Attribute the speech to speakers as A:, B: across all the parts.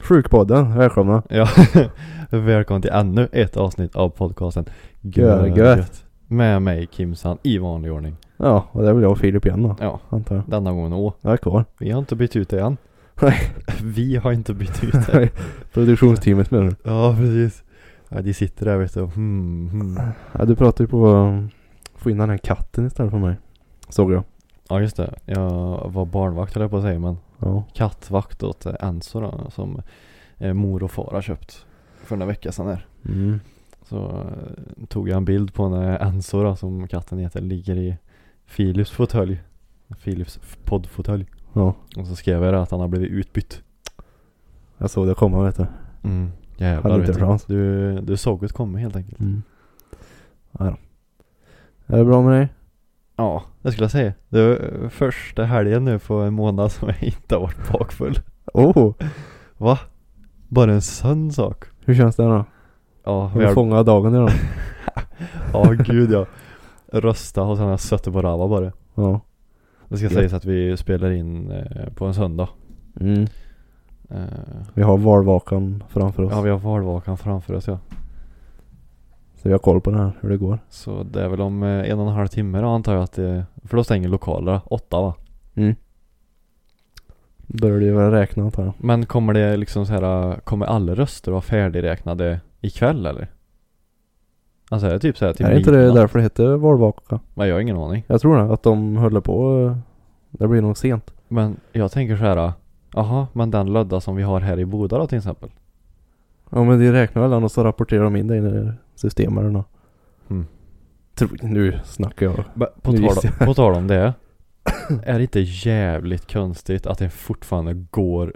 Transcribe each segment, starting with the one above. A: Sjukpodden, välkomna!
B: Ja, välkommen till ännu ett avsnitt av podcasten
A: Gör det gött.
B: Med mig Kimsan i vanlig ordning.
A: Ja, och det blir jag och Filip igen då,
B: Ja,
A: antar jag.
B: denna gången å.
A: Jag är kvar.
B: Vi har inte bytt ut det än.
A: Nej.
B: Vi har inte bytt ut det.
A: Produktionsteamet menar du?
B: Ja, precis. Ja, de sitter där vet du och hmm, hmm.
A: Ja, du pratade ju på att få in den här katten istället för mig. Såg jag.
B: Ja, just det. Jag var barnvakt höll jag på att säga, men
A: Ja.
B: kattvakt åt eh, Enzo då, som eh, mor och far har köpt för några veckor sedan där.
A: Mm.
B: Så eh, tog jag en bild på när Enzo då, som katten heter, ligger i Philips fåtölj. Philips f- poddfåtölj.
A: Ja.
B: Och så skrev jag det att han har blivit utbytt.
A: Jag såg det komma vet du.
B: Mm. Jävlar
A: Hade inte
B: vet du.
A: chans.
B: du. Du såg det komma helt enkelt.
A: Mm. Ja, då. Är det bra med dig?
B: Ja, det skulle jag säga. Det var eh, första helgen nu på en månad som jag inte har varit bakfull.
A: Oh,
B: Va? Bara en sån sak.
A: hur känns det då?
B: Ja,
A: Har du fångat dagen idag?
B: ja gud ja. Rösta och sen har jag suttit på Rava bara.
A: ja.
B: Det ska
A: Gött.
B: sägas att vi spelar in eh, på en söndag.
A: Mm.
B: Eh,
A: Vi har valvakan framför oss.
B: Ja, vi har valvakan framför oss ja.
A: Så vi har koll på det här, hur det går.
B: Så det är väl om eh, en och en halv timme då antar jag att det, För då stänger lokalerna åtta va?
A: Börjar du väl räkna antar jag.
B: Men kommer det liksom så här, kommer alla röster vara färdigräknade ikväll eller? Alltså är det typ så här till
A: är inte det
B: midnatt?
A: därför det heter valvaka?
B: Men jag har ingen aning.
A: Jag tror det, att de höll på. eh, Det blir nog sent.
B: Men jag tänker så här. Jaha, men den lödda som vi har här i Boda då till exempel.
A: Ja men det räknar väl han och så rapporterar de in det i systemet eller nåt.
B: Mm.
A: Tror- Nu snackar jag.
B: Men På
A: Nu
B: tal,
A: gissar
B: på tal om det. Är det inte jävligt konstigt att det fortfarande går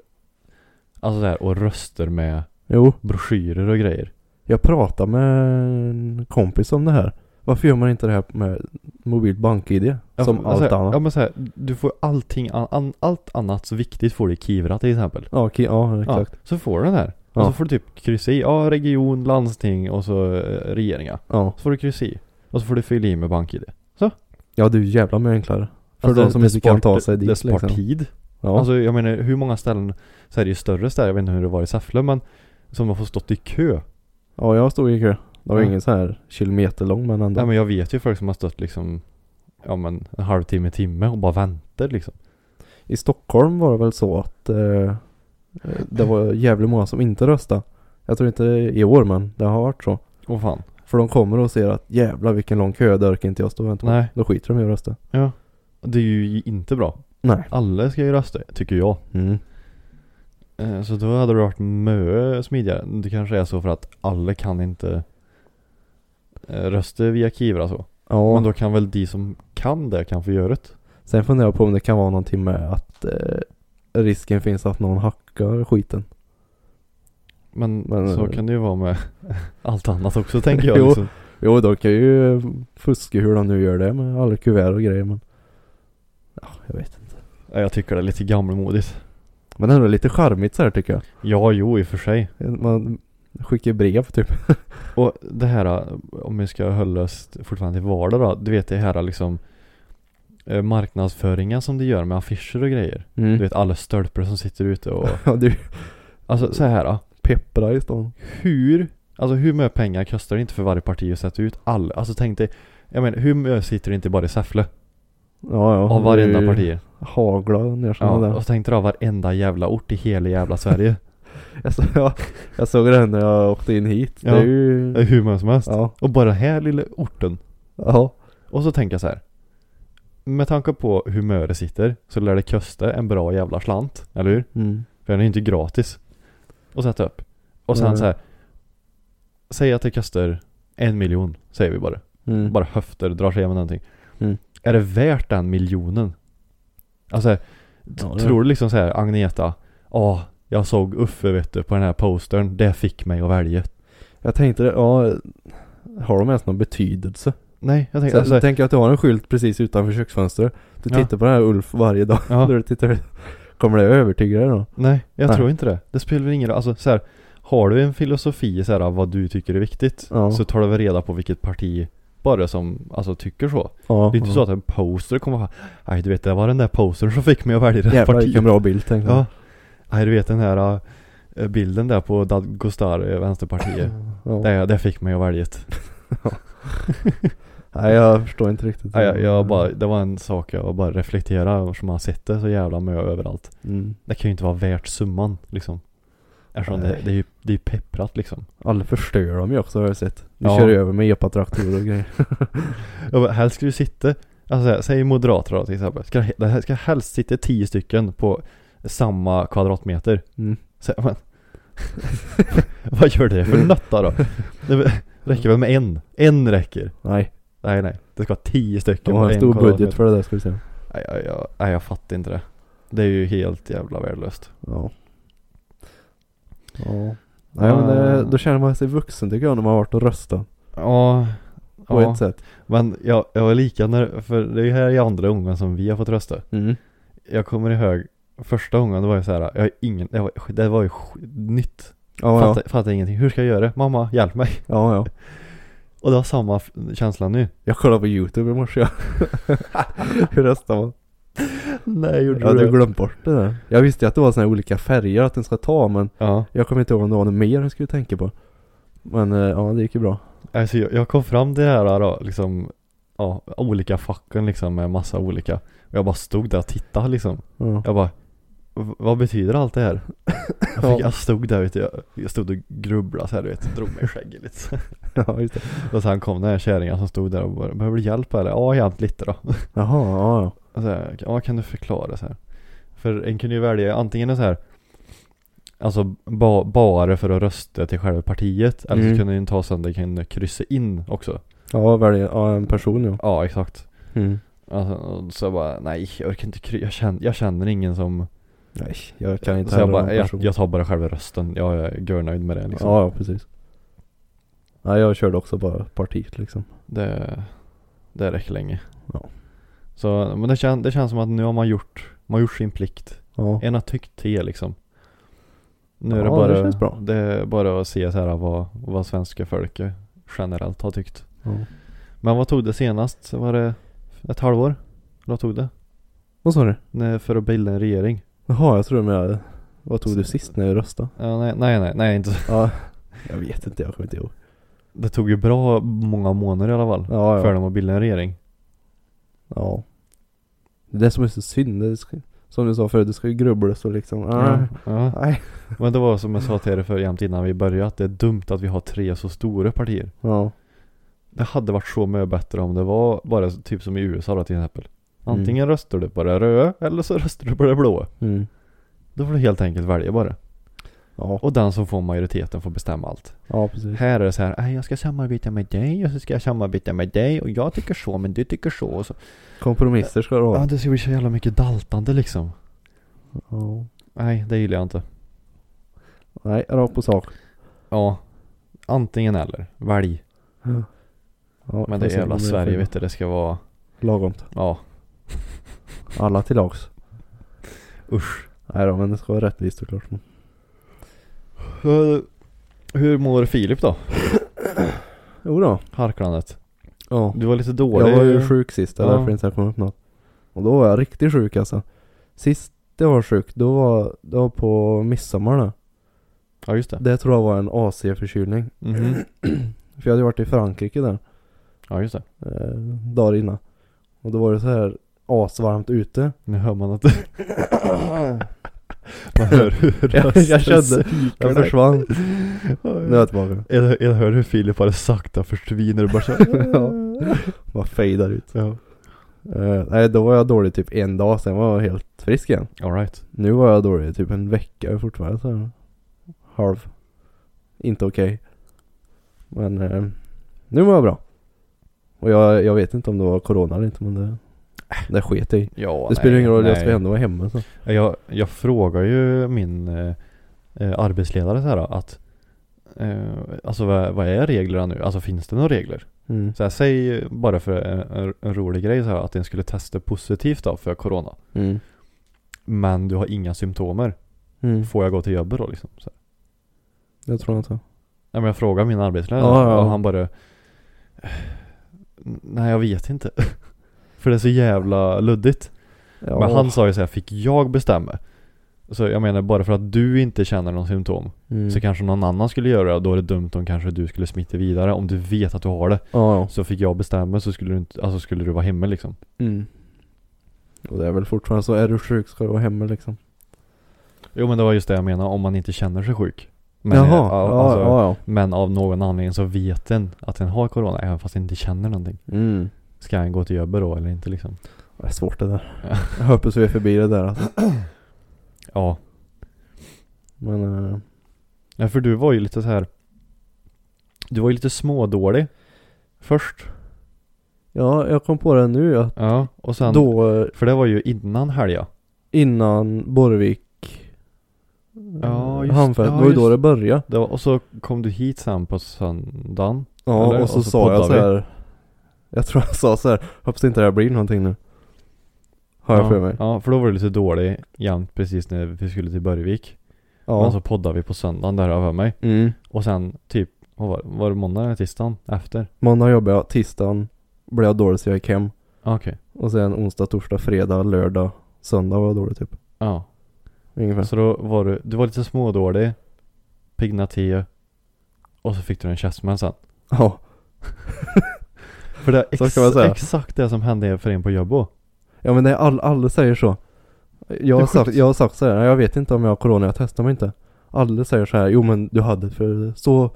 B: Alltså där och röster med
A: Jo,
B: broschyrer och grejer.
A: jag pratade med en kompis om det här. Varför gör man inte det här med mobilt bank-id?
B: Ja,
A: som
B: men så
A: allt
B: här,
A: annat.
B: Ja men så här, du får allting, an, an, allt annat så viktigt får du i Kivra till exempel.
A: Ja, okej, ja
B: Ja,
A: exakt.
B: så får du den här.
A: Ja.
B: Och så får du typ kryssa i, ja region, landsting och så eh, regeringar.
A: Ja.
B: Så får du kryssa i. Och så får du fylla i med BankID.
A: Ja, det är ju jävla mycket enklare. För
B: Alltså,
A: de som
B: det
A: inte kan
B: spar-
A: ta sig dit
B: Det spar
A: liksom.
B: tid.
A: Ja.
B: Alltså jag menar hur många ställen, så är det ju större städer, jag vet inte hur det var i Säffle men som har fått stått i kö.
A: ja, jag stod i kö. Det var
B: Ja.
A: ingen så här kilometer lång men ändå.
B: Nej men jag vet ju folk som har stått liksom, ja men en halvtimme, timme och bara väntar liksom.
A: I Stockholm var det väl så att eh, det var jävligt många som inte röstade. Jag tror inte i år men det har varit så.
B: Åh fan.
A: För de kommer och ser att jävlar vilken lång kö, där orkar inte jag stå och vänta på.
B: Nej.
A: Då skiter de i att rösta.
B: Ja. Det är ju inte bra.
A: Nej.
B: Alla ska ju rösta, tycker jag.
A: Mm.
B: Eh, Så då hade det varit mycket smidigare. Det kanske är så för att alla kan inte eh, rösta via Kivra så.
A: Ja,
B: Men då kan väl de som kan det kan få göra det.
A: sen funderar jag på om det kan vara någonting med att eh, risken finns att någon hackar skiten.
B: Men,
A: Men,
B: så
A: eh,
B: kan det ju vara med allt annat också tänker jag.
A: Jo.
B: Liksom.
A: Jo, de kan ju fuska hur de nu gör det med alla kuvert och grejer men ja, jag vet inte.
B: Ja, Jag tycker det är lite gammalmodigt.
A: Men ändå lite charmigt så här tycker jag.
B: Ja, jo i och för sig.
A: Man skickar brev typ.
B: Och det här, eh, om vi ska hålla oss fortfarande till vardag då. Du vet det här liksom eh, marknadsföringen som de gör med affischer och grejer.
A: Mm.
B: Du vet alla stölpor som sitter ute och
A: Ja, du
B: alltså så här. Då.
A: pepprar i stan.
B: hur, alltså hur mycket pengar kostar det inte för varje parti att sätta ut all, alltså tänk dig, jag menar hur mycket sitter det inte bara i Säffle?
A: Ja, ja.
B: Av varenda parti.
A: Hagla ner sådana
B: Ja,
A: där.
B: och tänk dig då varenda jävla ort i hela jävla Sverige.
A: Jag, så, ja, jag såg det här när jag åkte in hit.
B: Ja.
A: Det är ju...
B: Det är hur mycket som helst.
A: Ja.
B: Och bara den här lilla orten.
A: Ja.
B: Och så tänker jag så här. Med tanke på hur mycket det sitter så lär det kosta en bra jävla slant, eller hur?
A: Mm.
B: För den är ju inte gratis. Och sätta upp. Och sen
A: Nej.
B: så här. Säg att det kostar en miljon, säger vi bara.
A: Mm.
B: bara höfter, drar sig igenom någonting.
A: Mm.
B: Är det värt den miljonen? Alltså, T-
A: Ja, det-
B: Tror du liksom så här Agneta, ja jag såg Uffe vet du på den här postern, det fick mig att välja.
A: Jag tänkte det, ja. Har de ens någon betydelse?
B: Nej, jag
A: Så,
B: tänker
A: så
B: alltså,
A: tänker jag att du har en skylt precis utanför köksfönstret. Du
B: Ja.
A: tittar på den här Ulf varje dag.
B: Ja.
A: När du tittar, kommer det övertyga dig då?
B: nej jag
A: Nej.
B: tror inte det. Det spelar väl ingen roll, alltså så här, har du en filosofi så här, av vad du tycker är viktigt
A: Ja.
B: så tar du väl reda på vilket parti bara som alltså tycker så.
A: Ja.
B: Det är inte så att en poster kommer fram, nej du vet det var den där postern som fick mig att välja det här
A: Jävlar
B: partiet.
A: vilken bra bild tänkte
B: Ja. Nej du vet den här eh, bilden där på Dad Gostar, eh, Vänsterpartiet.
A: jag. Ja.
B: det, det fick mig att välja det.
A: Nej jag förstår inte riktigt.
B: Nej, jag, jag bara, det var en sak jag bara reflekterade över som man sett det så jävla mycket överallt.
A: Mm.
B: Det kan ju inte vara värt summan liksom. Eftersom det,
A: Nej.
B: det är ju det är ju pepprat liksom.
A: Alla förstör dem ju också har jag sett. Du
B: Ja.
A: kör över med epatraktorer och grejer.
B: Jag bara, helst ska du sitta, alltså så här, säg moderater då till exempel. Ska, det här ska helst sitta tio stycken på samma kvadratmeter.
A: Mm.
B: Så, här, men, vad gör det
A: Mm.
B: för nötta då? Det räcker väl med en? En räcker.
A: Nej,
B: Nej nej, det ska vara tio stycken
A: de har
B: på
A: en stor budget
B: kvadratmeter.
A: för det där ska vi säga.
B: Nej jag, jag, nej jag fattar inte det. Det är ju helt jävla värdelöst.
A: Ja. Ja. Ah. Nej men det, då känner man sig vuxen tycker jag när man har varit och röstat.
B: Ja,
A: På
B: ja.
A: ett sätt.
B: men jag, jag var lika när, för det är ju här i andra gången som vi har fått rösta.
A: Mm.
B: Jag kommer ihåg första gången, det var ju så här, jag har ingen, det var, det var ju sk- nytt.
A: Ja, ja.
B: fattar, fattar ingenting, hur ska jag göra? Mamma, hjälp mig.
A: ja, ja.
B: Och det har samma f- känsla nu.
A: Jag kollade på youtube i morse. ja. Hur röstar man?
B: Nej,
A: Jag hade glömt bort det där. Jag visste ju att det var sådana här olika färger att den ska ta men
B: Ja,
A: jag kommer inte ihåg om det var något mer jag skulle tänka på. Men eh, ja, det gick ju bra.
B: alltså jag, jag kom fram till det här då, liksom, ja, olika facken liksom med massa olika. Och jag bara stod där och tittade liksom.
A: Ja.
B: Jag bara "V- Vad betyder allt det här? Jag, fick,
A: Ja.
B: jag stod där vet du, jag, jag stod och grubblade så här, du vet, drog mig i skägget lite så.
A: ja, just det.
B: Och sen kom den här kärringen som stod där och bara Behöver du hjälp eller? Ja, hjälp lite då
A: Jaha, ja, ja.
B: och så här, Ja, kan du förklara så här? För en kunde ju välja antingen en så här Alltså ba, bara för att rösta till själva partiet Eller
A: Mm.
B: så kunde den ta sen det kan kryssa in också
A: Ja, välja ja, en person ja.
B: Ja, exakt
A: Mm.
B: alltså, och så jag bara nej, jag orkar inte kry- jag känner, jag känner ingen som
A: Nej, jag kan inte
B: Så jag
A: heller
B: bara,
A: någon
B: jag,
A: person.
B: jag tar bara själva rösten, jag är görnöjd med det liksom
A: Ja, ja, precis. Nej, jag körde också bara partiet liksom.
B: Det, det räcker länge.
A: Ja.
B: Så, men det, kän, det känns som att nu har man gjort, man har gjort sin plikt.
A: Ja,
B: En har tyckt till liksom. Nu är det
A: Ja,
B: bara,
A: det känns bra.
B: det är bara att se så här vad, vad svenska folket generellt har tyckt.
A: ja.
B: Men vad tog det senast? Var det ett halvår? Vad tog det?
A: Vad sa du?
B: Nej, För att bilda en regering?
A: Jaha, jag tror med Vad tog du sist när du röstade?
B: Ja, nej, nej, nej, nej inte. så.
A: Ja, jag vet inte, jag kommer inte ihåg.
B: Det tog ju bra många månader i alla fall.
A: Ja, ja.
B: För dem att bilda en regering.
A: Ja. Det är det som är så synd. Det ska, som du sa förut, det ska ju grubblas och liksom.
B: Ja,
A: ah,
B: ja.
A: Nej.
B: Men det var som jag sa till er för jämt innan vi började att det är dumt att vi har tre så stora partier.
A: Ja.
B: Det hade varit så mycket bättre om det var bara typ som i USA då till exempel. Antingen röstar du på det röda eller så röstar du på det blåa.
A: Mm.
B: Då får du helt enkelt välja bara.
A: Ja.
B: Och den som får majoriteten får bestämma allt.
A: ja, precis.
B: Här är det så här, "Nej, jag ska samarbeta med dig och så ska jag samarbeta med dig och jag tycker så men du tycker så och så.
A: Kompromisser ska det
B: Ja,
A: vara.
B: det ska bli så jävla mycket daltande liksom.
A: Ja.
B: Nej, det gillar jag inte.
A: Nej, rakt på sak.
B: Ja, antingen eller. Välj.
A: Ja. Ja,
B: Men det är jävla Sverige vet du, det ska vara,
A: Lagomt.
B: ja,
A: Alla till lags.
B: usch.
A: Nej då, men det ska vara rättvist såklart.
B: Hur, hur mår Filip då?
A: Jo då.
B: Harklandet.
A: Ja.
B: Du var lite dålig.
A: Jag var ju sjuk sist, det är
B: Ja.
A: därför inte jag kom upp något. Och då var jag riktigt sjuk alltså. Sist jag var sjuk, då var det var på midsommar då.
B: Ja just det.
A: Det tror jag var en AC-förkylning.
B: Mhm.
A: För jag hade ju varit i Frankrike där,
B: Ja just det.
A: eh, dagar innan. Och då var det så här asvarmt ute.
B: Nu hör man att Man hör hur
A: Jag, jag kände, jag försvann. Nu är
B: försvann.
A: jag tillbaka.
B: Jag, jag hör hur Filip bara sakta försvinner och bara så här-
A: Ja. Bara fejdar ut.
B: Ja.
A: Eh, nej, då var jag dålig typ en dag, sen var jag helt frisk igen.
B: Alright.
A: Nu var jag dålig typ en vecka fortfarande så här. Halv. Inte okej. Men eh, nu mår jag bra. Och jag, jag vet inte om det var corona eller inte men det... Det sket jag i.
B: Ja,
A: Det spelar ingen roll, jag
B: nej.
A: ska ändå vara hemma så.
B: Jag, jag frågar ju min eh, eh, arbetsledare så här då, att eh, Alltså vad, vad är reglerna nu? Alltså finns det några regler?
A: Mm.
B: Så här, säg bara för en, en, en rolig grej så här att den skulle testa positivt då för corona
A: Mm.
B: Men du har inga symptomer
A: Mm.
B: Får jag gå till jobbet då liksom? Så här.
A: Det tror jag inte.
B: Nej men jag frågar min arbetsledare
A: Ja, ja, ja.
B: och han bara eh, Nej jag vet inte För det är så jävla luddigt
A: Ja.
B: Men han sa ju såhär, fick jag bestämma? Så jag menar bara för att du inte känner någon symptom
A: Mm.
B: Så kanske någon annan skulle göra det och då är det dumt om kanske du skulle smitta vidare om du vet att du har det
A: Ja, ja.
B: Så fick jag bestämma så skulle du inte, alltså skulle du vara hemma liksom
A: Mm. Och det är väl fortfarande så, är du sjuk ska du vara hemma liksom.
B: Jo men det var just det jag menade, om man inte känner sig sjuk men,
A: Jaha,
B: eh,
A: ja,
B: alltså,
A: ja,
B: men av någon anledning så vet den att den har corona även fast den inte känner någonting
A: ja. Mm.
B: Ska den gå till jobbet då eller inte liksom?
A: Det är svårt det där.
B: Ja.
A: Jag hoppas vi är förbi det där alltså.
B: Ja,
A: Men, eh,
B: ja för du var ju lite så här. Du var ju lite smådålig Först
A: ja, jag kom på det nu att
B: Ja, och sen
A: då eh,
B: För det var ju innan helga.
A: innan Borvik
B: Ja, just-
A: Hanfest,
B: ja,
A: det var ju då
B: just-
A: det började.
B: Det var, och så kom du hit sen på söndagen.
A: Ja,
B: Eller,
A: och så,
B: och så
A: sa jag
B: poddar
A: så här. Jag tror jag sa så här. hoppas inte det här blir någonting nu. Har jag
B: ja,
A: för mig. Ja.
B: Ja, för då var du lite dålig jämt precis när vi skulle till Börjevik. Men så poddade vi på söndagen, där har jag för mig.
A: Mm.
B: Och sen typ, vad var, det? var det måndag eller tisdagen efter?
A: Måndag jobbade jag, tisdagen blev jag dålig så jag gick hem.
B: Ja, Okej.
A: Och sen onsdag, torsdag, fredag, lördag, söndag var jag dålig typ.
B: Ja.
A: Ungefär.
B: Så då var du, du var lite smådålig, piggna till och så fick du en käftsmäll sen.
A: Ja.
B: För det är
A: Så
B: ex-
A: kan man säga.
B: exakt det som hände för en på jobbet.
A: Ja men det är all, alla säger så. Jag
B: Det är
A: har, sagt,
B: sjukt.
A: jag har sagt så här, "Nej, jag vet inte om jag har corona, jag testar mig inte. Alla säger så här, jo men du hade för så,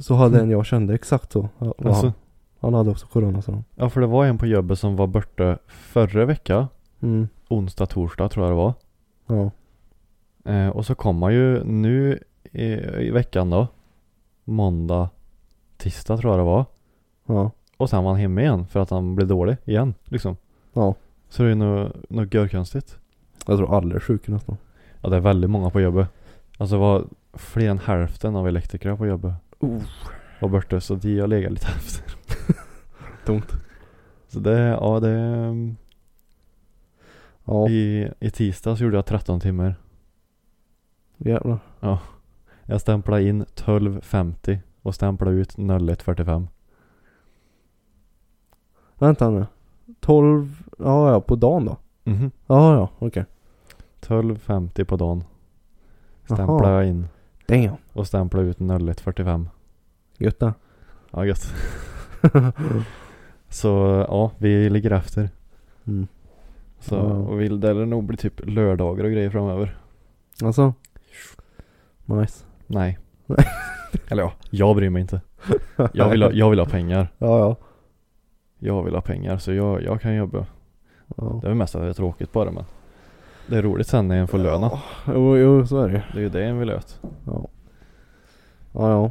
A: så hade en jag kände exakt så. Ja, och
B: Mm. Alltså,
A: han, han hade också corona sa de.
B: ja, för det var en på jobbet som var borta förra veckan,
A: Mm,
B: onsdag, torsdag tror jag det var.
A: ja.
B: Eh, och så kom han ju nu i, i veckan då. Måndag, tisdag tror jag det var.
A: Ja.
B: Och sen var han hemma igen för att han blev dålig igen liksom.
A: Ja.
B: Så det är nog, nog görkonstigt.
A: Jag tror alla är sjuka nästan.
B: Ja det är väldigt många på jobbet. Alltså det var fler än hälften av elektrikerna på jobbet.
A: Oh.
B: Var borta så de har legat lite efter.
A: Tomt.
B: Så det, ja det. mm,
A: Ja,
B: I, i tisdags gjorde jag 13 timmar.
A: jävlar.
B: Jag stämplade in 12.50 och stämplade ut 01.45.
A: Vänta nu. 12, ja ja, på dagen då?
B: Mhm.
A: Ja ja, okej.
B: 12.50 på dagen.
A: Jaha.
B: Stämplade jag in.
A: Damn.
B: Och stämpla ut 0145.
A: Gött det.
B: Ja gött. så ja, vi ligger efter.
A: Mm.
B: Så,
A: Ja.
B: och vill det lär nog bli typ lördagar och grejer framöver.
A: Alltså. Nice.
B: Nej. Eller ja, jag bryr mig inte. Jag vill ha, jag vill ha pengar.
A: Ja ja.
B: Jag vill ha pengar så jag, jag kan jobba.
A: ja.
B: Det är väl mest att det är tråkigt bara men. Det är roligt sen när en får löna.
A: Jo, jo så är det ju.
B: Det är ju det en vill åt.
A: Ja. Ja, ja.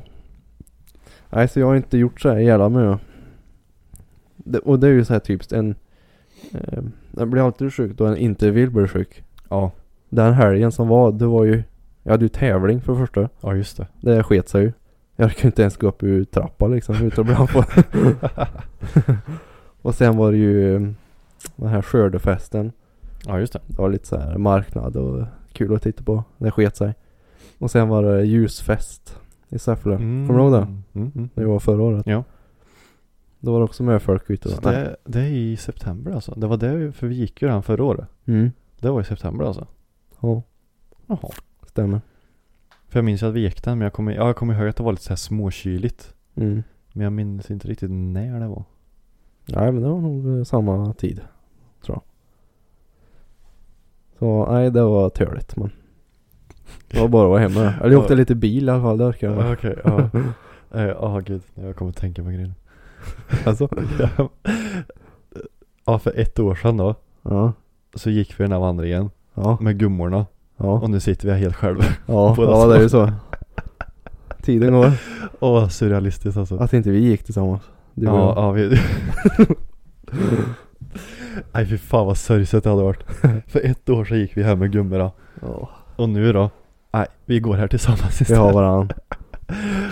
A: Nej, så jag har inte gjort så här jävla mycket. Det, och det är ju så här typiskt en... Eh, jag blir alltid sjuk då en inte vill bli sjuk.
B: Ja.
A: Den helgen som var, det var ju... Jag hade ju tävling för det första.
B: Ja just det.
A: Det sket sig ju. Jag kunde inte ens gå upp ur trappan liksom utan att bli på. och sen var det ju eh, den här skördefesten.
B: Ja just det.
A: Det var lite så här marknad och kul att titta på. Det sket sig. Och sen var det ljusfest i Säffle. Kommer du ihåg det?
B: Mm, mm.
A: Det var förra året.
B: Ja.
A: Då var det också med folk ute.
B: Så
A: och-
B: det, det är i september alltså. Det var det, för vi gick ju den förra året.
A: Mm.
B: Det var i september alltså.
A: Ja,
B: Jaha.
A: stämmer.
B: För jag minns ju att vi gick den men jag kommer, ja, jag kommer ihåg att det var lite så här småkyligt.
A: Mm.
B: Men jag minns inte riktigt när det var.
A: Nej men det var nog eh, samma tid. Tror jag. Så nej det var töligt men. Det var bara att vara hemma. Eller jag åkte lite bil i alla fall. Det orkar jag. med.
B: Okej, ja. Eh, Ja gud, jag kommer tänka på grejen.
A: Alltså?
B: Ja. ja för ett år sedan då.
A: Ja.
B: Så gick vi den här vandringen
A: Ja.
B: med gummorna.
A: Ja.
B: Och nu sitter vi här helt själva.
A: Ja,
B: Båda
A: ja det är ju så. Tiden går.
B: Åh surrealistiskt alltså.
A: Att inte vi gick tillsammans. Du och
B: ja,
A: jag.
B: ja vi... Nej fy fan vad sorgset det hade varit. För ett år sedan gick vi här med gummorna.
A: Ja.
B: Och nu då? Nej, vi går här tillsammans
A: Vi har
B: istället.
A: varandra.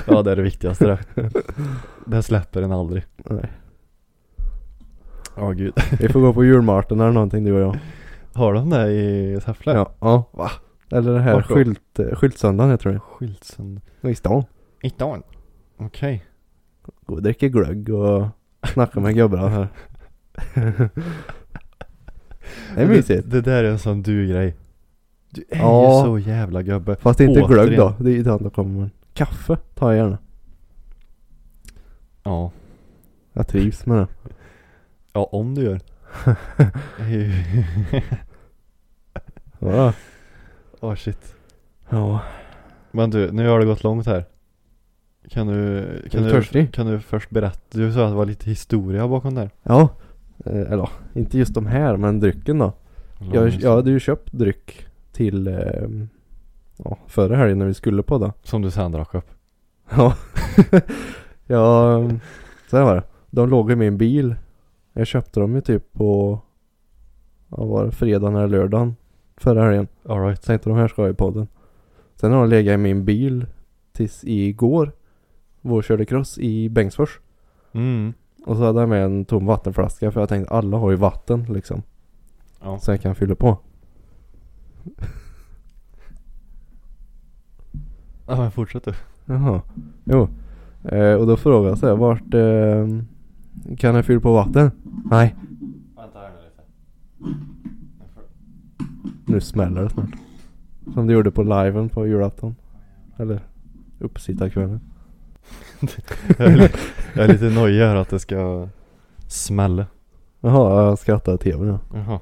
B: Ja, det är det viktigaste det. Det släpper en aldrig.
A: Nej.
B: Ja gud.
A: Vi får gå på julmarten eller någonting du och jag.
B: Har de det i Säffle?
A: Ja. ja. Va? Eller det här
B: Vart då?
A: skylt, eh, skyltsöndagen heter det.
B: Skyltsen.
A: I stan.
B: Itan. Okej.
A: Gå och dricka glögg och snacka med gubbarna här. det är mysigt.
B: Det, det där är en sån du-grej. Du är
A: Ja.
B: ju så jävla gubbe.
A: Fast det är inte
B: Återigen.
A: glögg då. Det är inte han som kommer. Men kaffe tar jag gärna.
B: Ja.
A: Jag trivs med det.
B: Ja, om du gör.
A: Ja.
B: Åh shit.
A: ja.
B: Men du, nu har det gått långt här. Kan du, kan
A: du
B: du,
A: törstig?
B: kan du först berätta? Du sa att det var lite historia bakom där.
A: Ja. Eh, Eller ja, inte just de här men drycken då. Jag, jag hade ju köpt dryck till eh, ja, förra helgen när vi skulle på då.
B: Som du sen drack upp.
A: Ja. ja. Så här var det. De låg i min bil. Jag köpte dem ju typ på vad var det, fredagen eller lördagen förra helgen.
B: Alright.
A: Tänkte de här ska i podden. Sen har de legat i min bil tills igår. Vår körde cross i Bengtsfors.
B: Mm.
A: Och så hade jag med en tom vattenflaska för jag tänkte alla har ju vatten liksom.
B: Ja.
A: Så jag kan fylla på.
B: Ja men fortsätt du.
A: Jaha. Jo. Eh, och då frågade jag så här, vart eh, kan jag fylla på vatten? Nej,
B: Vänta här nu lite.
A: nu smäller det snart. Som du gjorde på liven på julafton. Eller uppesittarkvällen.
B: jag, är lite, jag är lite nojig här att det ska smälla.
A: Jaha, jag skrattade åt tvn ja.
B: Jaha.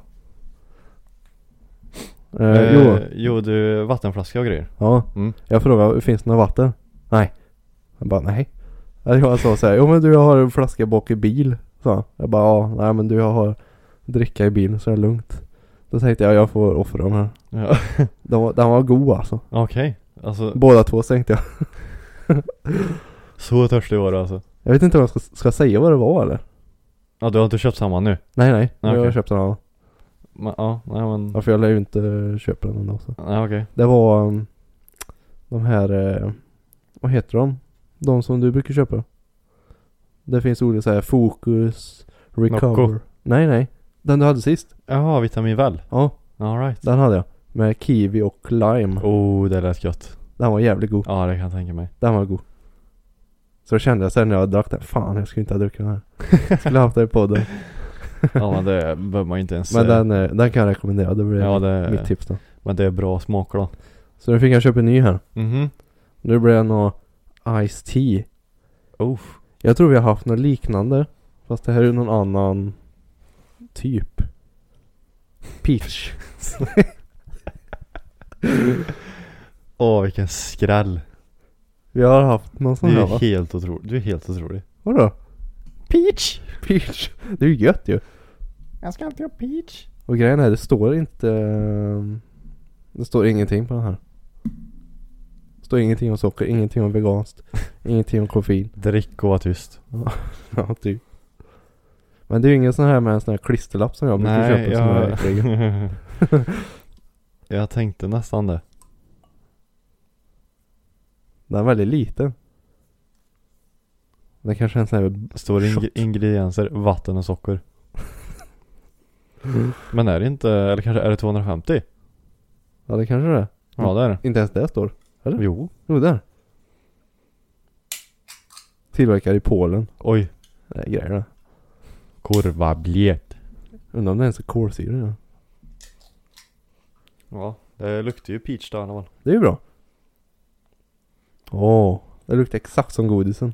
A: Eh,
B: Eh,
A: Jo,
B: jo du, vattenflaska och grejer.
A: ja.
B: Mm.
A: Jag frågade, finns det något vatten? Nej. Jag bara, nej. Eller Jag sa så här, jo men du jag har en flaska bak i bil. Så han. jag bara, ja, nej men du jag har dricka i bilen så det är lugnt. Då tänkte jag, jag får offra dem här.
B: Ja.
A: Den var, den var god alltså.
B: Okej. Alltså
A: Båda två tänkte jag.
B: så törstig var du alltså.
A: Jag vet inte om jag ska, ska säga vad det var eller?
B: Ja du har inte köpt samma nu?
A: Nej nej,
B: Nej,
A: jag har
B: okej.
A: köpt en annan.
B: Men, ja, nej men.
A: Ja, för jag lär ju inte köpa den ändå så.
B: Nej okej.
A: Det var um, de här, eh, vad heter de? De som du brukar köpa. Det finns olika så här fokus, recover.
B: Nocco.
A: Nej nej, den du hade sist.
B: Jaha, vitamin väl.
A: Ja,
B: Alright.
A: den hade jag. Med kiwi och lime.
B: Oh, det lät gött.
A: Den var jävligt god.
B: Ja, det kan jag tänka mig.
A: Den var god. Så då kände jag sen när jag drack den, fan jag skulle inte ha druckit den här. Skulle haft den i podden.
B: Ja, men det behöver man ju inte ens
A: Men
B: säga.
A: den, eh, den kan jag rekommendera, det blir
B: ja, det,
A: mitt tips då.
B: Men det är bra smaker då.
A: Så nu fick jag köpa en ny här.
B: Mhm.
A: Nu blir det nog Ice Tea.
B: Oh.
A: Jag tror vi har haft något liknande. Fast det här är någon annan typ. Peach.
B: Åh, vilken skräll.
A: Vi har haft någon
B: Du
A: sån här
B: är
A: va?
B: helt otrolig. Du är helt otrolig.
A: Vadå?
B: Peach!
A: Peach. Det är ju gött ju.
B: Jag ska alltid ha peach.
A: Och grejen är det står inte... ehm, Det står ingenting på den här. Det står ingenting om socker, ingenting om veganskt, ingenting om koffein.
B: Drick och var tyst.
A: Ja, typ. Men det är ju ingen sån här med en sån här klisterlapp som jag brukar köpa som är äcklig.
B: jag... jag tänkte nästan det.
A: Den är väldigt liten. Det kanske är en sån här...
B: Står ing-
A: Shot.
B: ingredienser, vatten och socker.
A: Mm.
B: Men är det inte, eller kanske är det 250?
A: Ja det kanske det är.
B: Ja det är det.
A: Inte ens det står. Eller?
B: Jo.
A: Jo där. Tillverkad i Polen.
B: Oj.
A: Det är grejer det.
B: Korva blek.
A: Undrar om det ens är kolsyra ja.
B: Ja, det luktar ju peach där man.
A: Det är ju bra. Åh. det luktar exakt som godisen.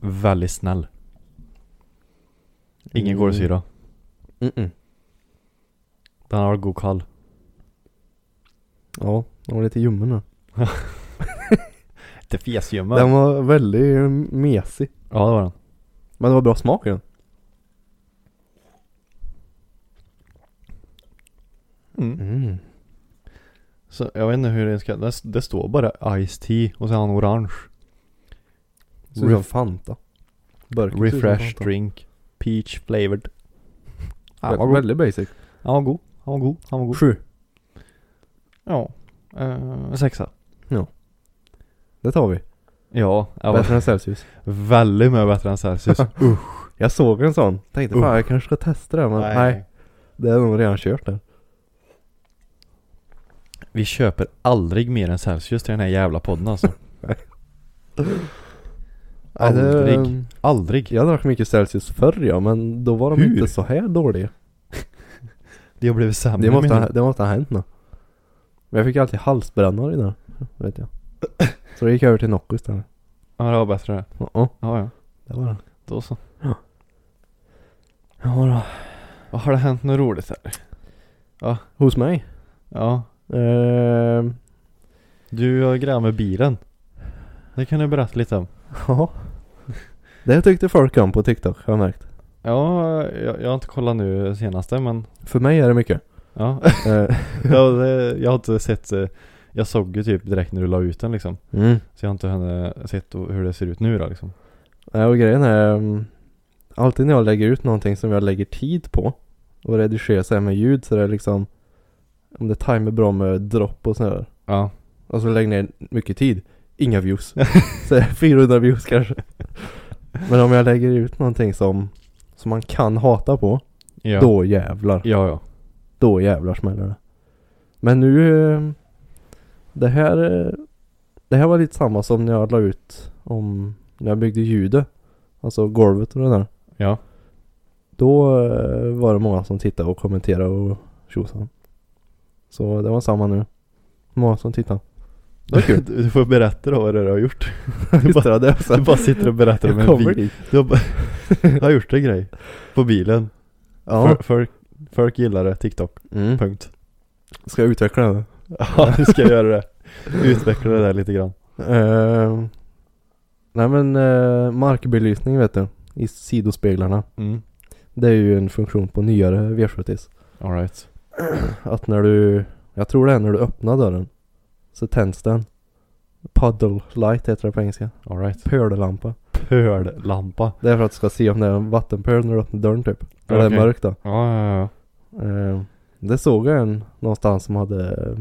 B: Väldigt snäll. Ingen
A: Mm.
B: kolsyra.
A: Mm-mm.
B: Den har god kall.
A: Ja, den var lite ljummen den.
B: Inte fesljummen.
A: Den var väldigt eh, mesig.
B: Ja det var den.
A: Men det var bra smak i den. Mm.
B: Så jag vet inte hur det ska, det, det står bara Ice Tea och sen har han orange.
A: Såg ut som Fanta. typ. Burk.
B: Refresh drink. Peach flavored. Han var
A: Ja,
B: god.
A: väldigt basic.
B: Han var god. Han var god. Han var god.
A: Sju.
B: Ja. Eh, sexa.
A: Det tar vi.
B: Ja. Jag var
A: Bättre än Celsius.
B: väldigt mycket bättre än Celsius.
A: Jag såg en sån. Tänkte
B: Uh.
A: fan jag kanske ska testa det men nej. Det är nog redan kört där.
B: Vi köper aldrig mer än Celsius till den här jävla podden alltså. Aldrig.
A: Nej, det-
B: Aldrig.
A: Jag drack mycket Celsius förr ja, men då var de
B: Hur?
A: inte så här dåliga.
B: Det har blivit sämre
A: Det måste,
B: menar
A: ha,
B: du?
A: det måste ha hänt något. Men jag fick alltid halsbrännor i den. Vet jag. Så då gick jag över till Nocco istället.
B: Ja det var bättre det.
A: Uh-oh,
B: Ja ja.
A: det var det.
B: Då så.
A: Ja då.
B: Vad Har det hänt något roligt här?
A: Hos mig?
B: Ja.
A: Ehm,
B: Du har grejer med bilen. Det kan du berätta lite om.
A: Ja. Det tyckte folk om på TikTok har jag märkt.
B: Ja, jag, jag har inte kollat nu senaste men
A: För mig är det mycket.
B: ja.
A: Eh,
B: jag, det- jag har inte sett eh, jag såg ju typ direkt när du la ut den liksom.
A: mm.
B: Så jag har inte hunnit eh, sett o- hur det ser ut nu då liksom.
A: Ja, Och grejen är mm, Alltid när jag lägger ut någonting som jag lägger tid på och redigerar så här med ljud så det är liksom om det tajmar bra med dropp och sådär.
B: Ja.
A: Och så lägger ner mycket tid. Inga views. så är det 400 views kanske. Men om jag lägger ut någonting som, som man kan hata på.
B: Ja.
A: Då jävlar.
B: Ja ja.
A: Då jävlar smäller det. Men nu... eh, Det här... eh, Det här var lite samma som när jag la ut om... När jag byggde ljudet. Alltså golvet och det där.
B: Ja.
A: Då eh, var det många som tittade och kommenterade och tjosan. Så det var samma nu. Många som tittade. Det var kul.
B: Du, du får berätta då vad det är du har gjort.
A: Visst är det det också?
B: Du bara sitter och berättar om
A: Jag
B: en
A: kommer
B: bil.
A: dit.
B: Du har, bara- du har gjort en grej. På bilen.
A: Ja.
B: Folk- Folk, folk gillar det, TikTok.
A: Mm.
B: Punkt.
A: Ska jag utveckla det?
B: Ja, du ska göra det. Utveckla det där lite grann.
A: Eh, nej men eh, markbelysning vet du. I sidospeglarna.
B: Mm.
A: Det är ju en funktion på nyare V70s.
B: Alright.
A: Att när du, jag tror det är när du öppnar dörren. Så tänds den. Puddle light heter det på engelska.
B: Alright.
A: Pöllampa.
B: Pöllampa.
A: Det är för att du ska se om det är en vattenpöl när du öppnar dörren typ. När det
B: Okej.
A: är mörkt då.
B: Ja, ja, ja.
A: Eh, det såg jag en någonstans som hade eh,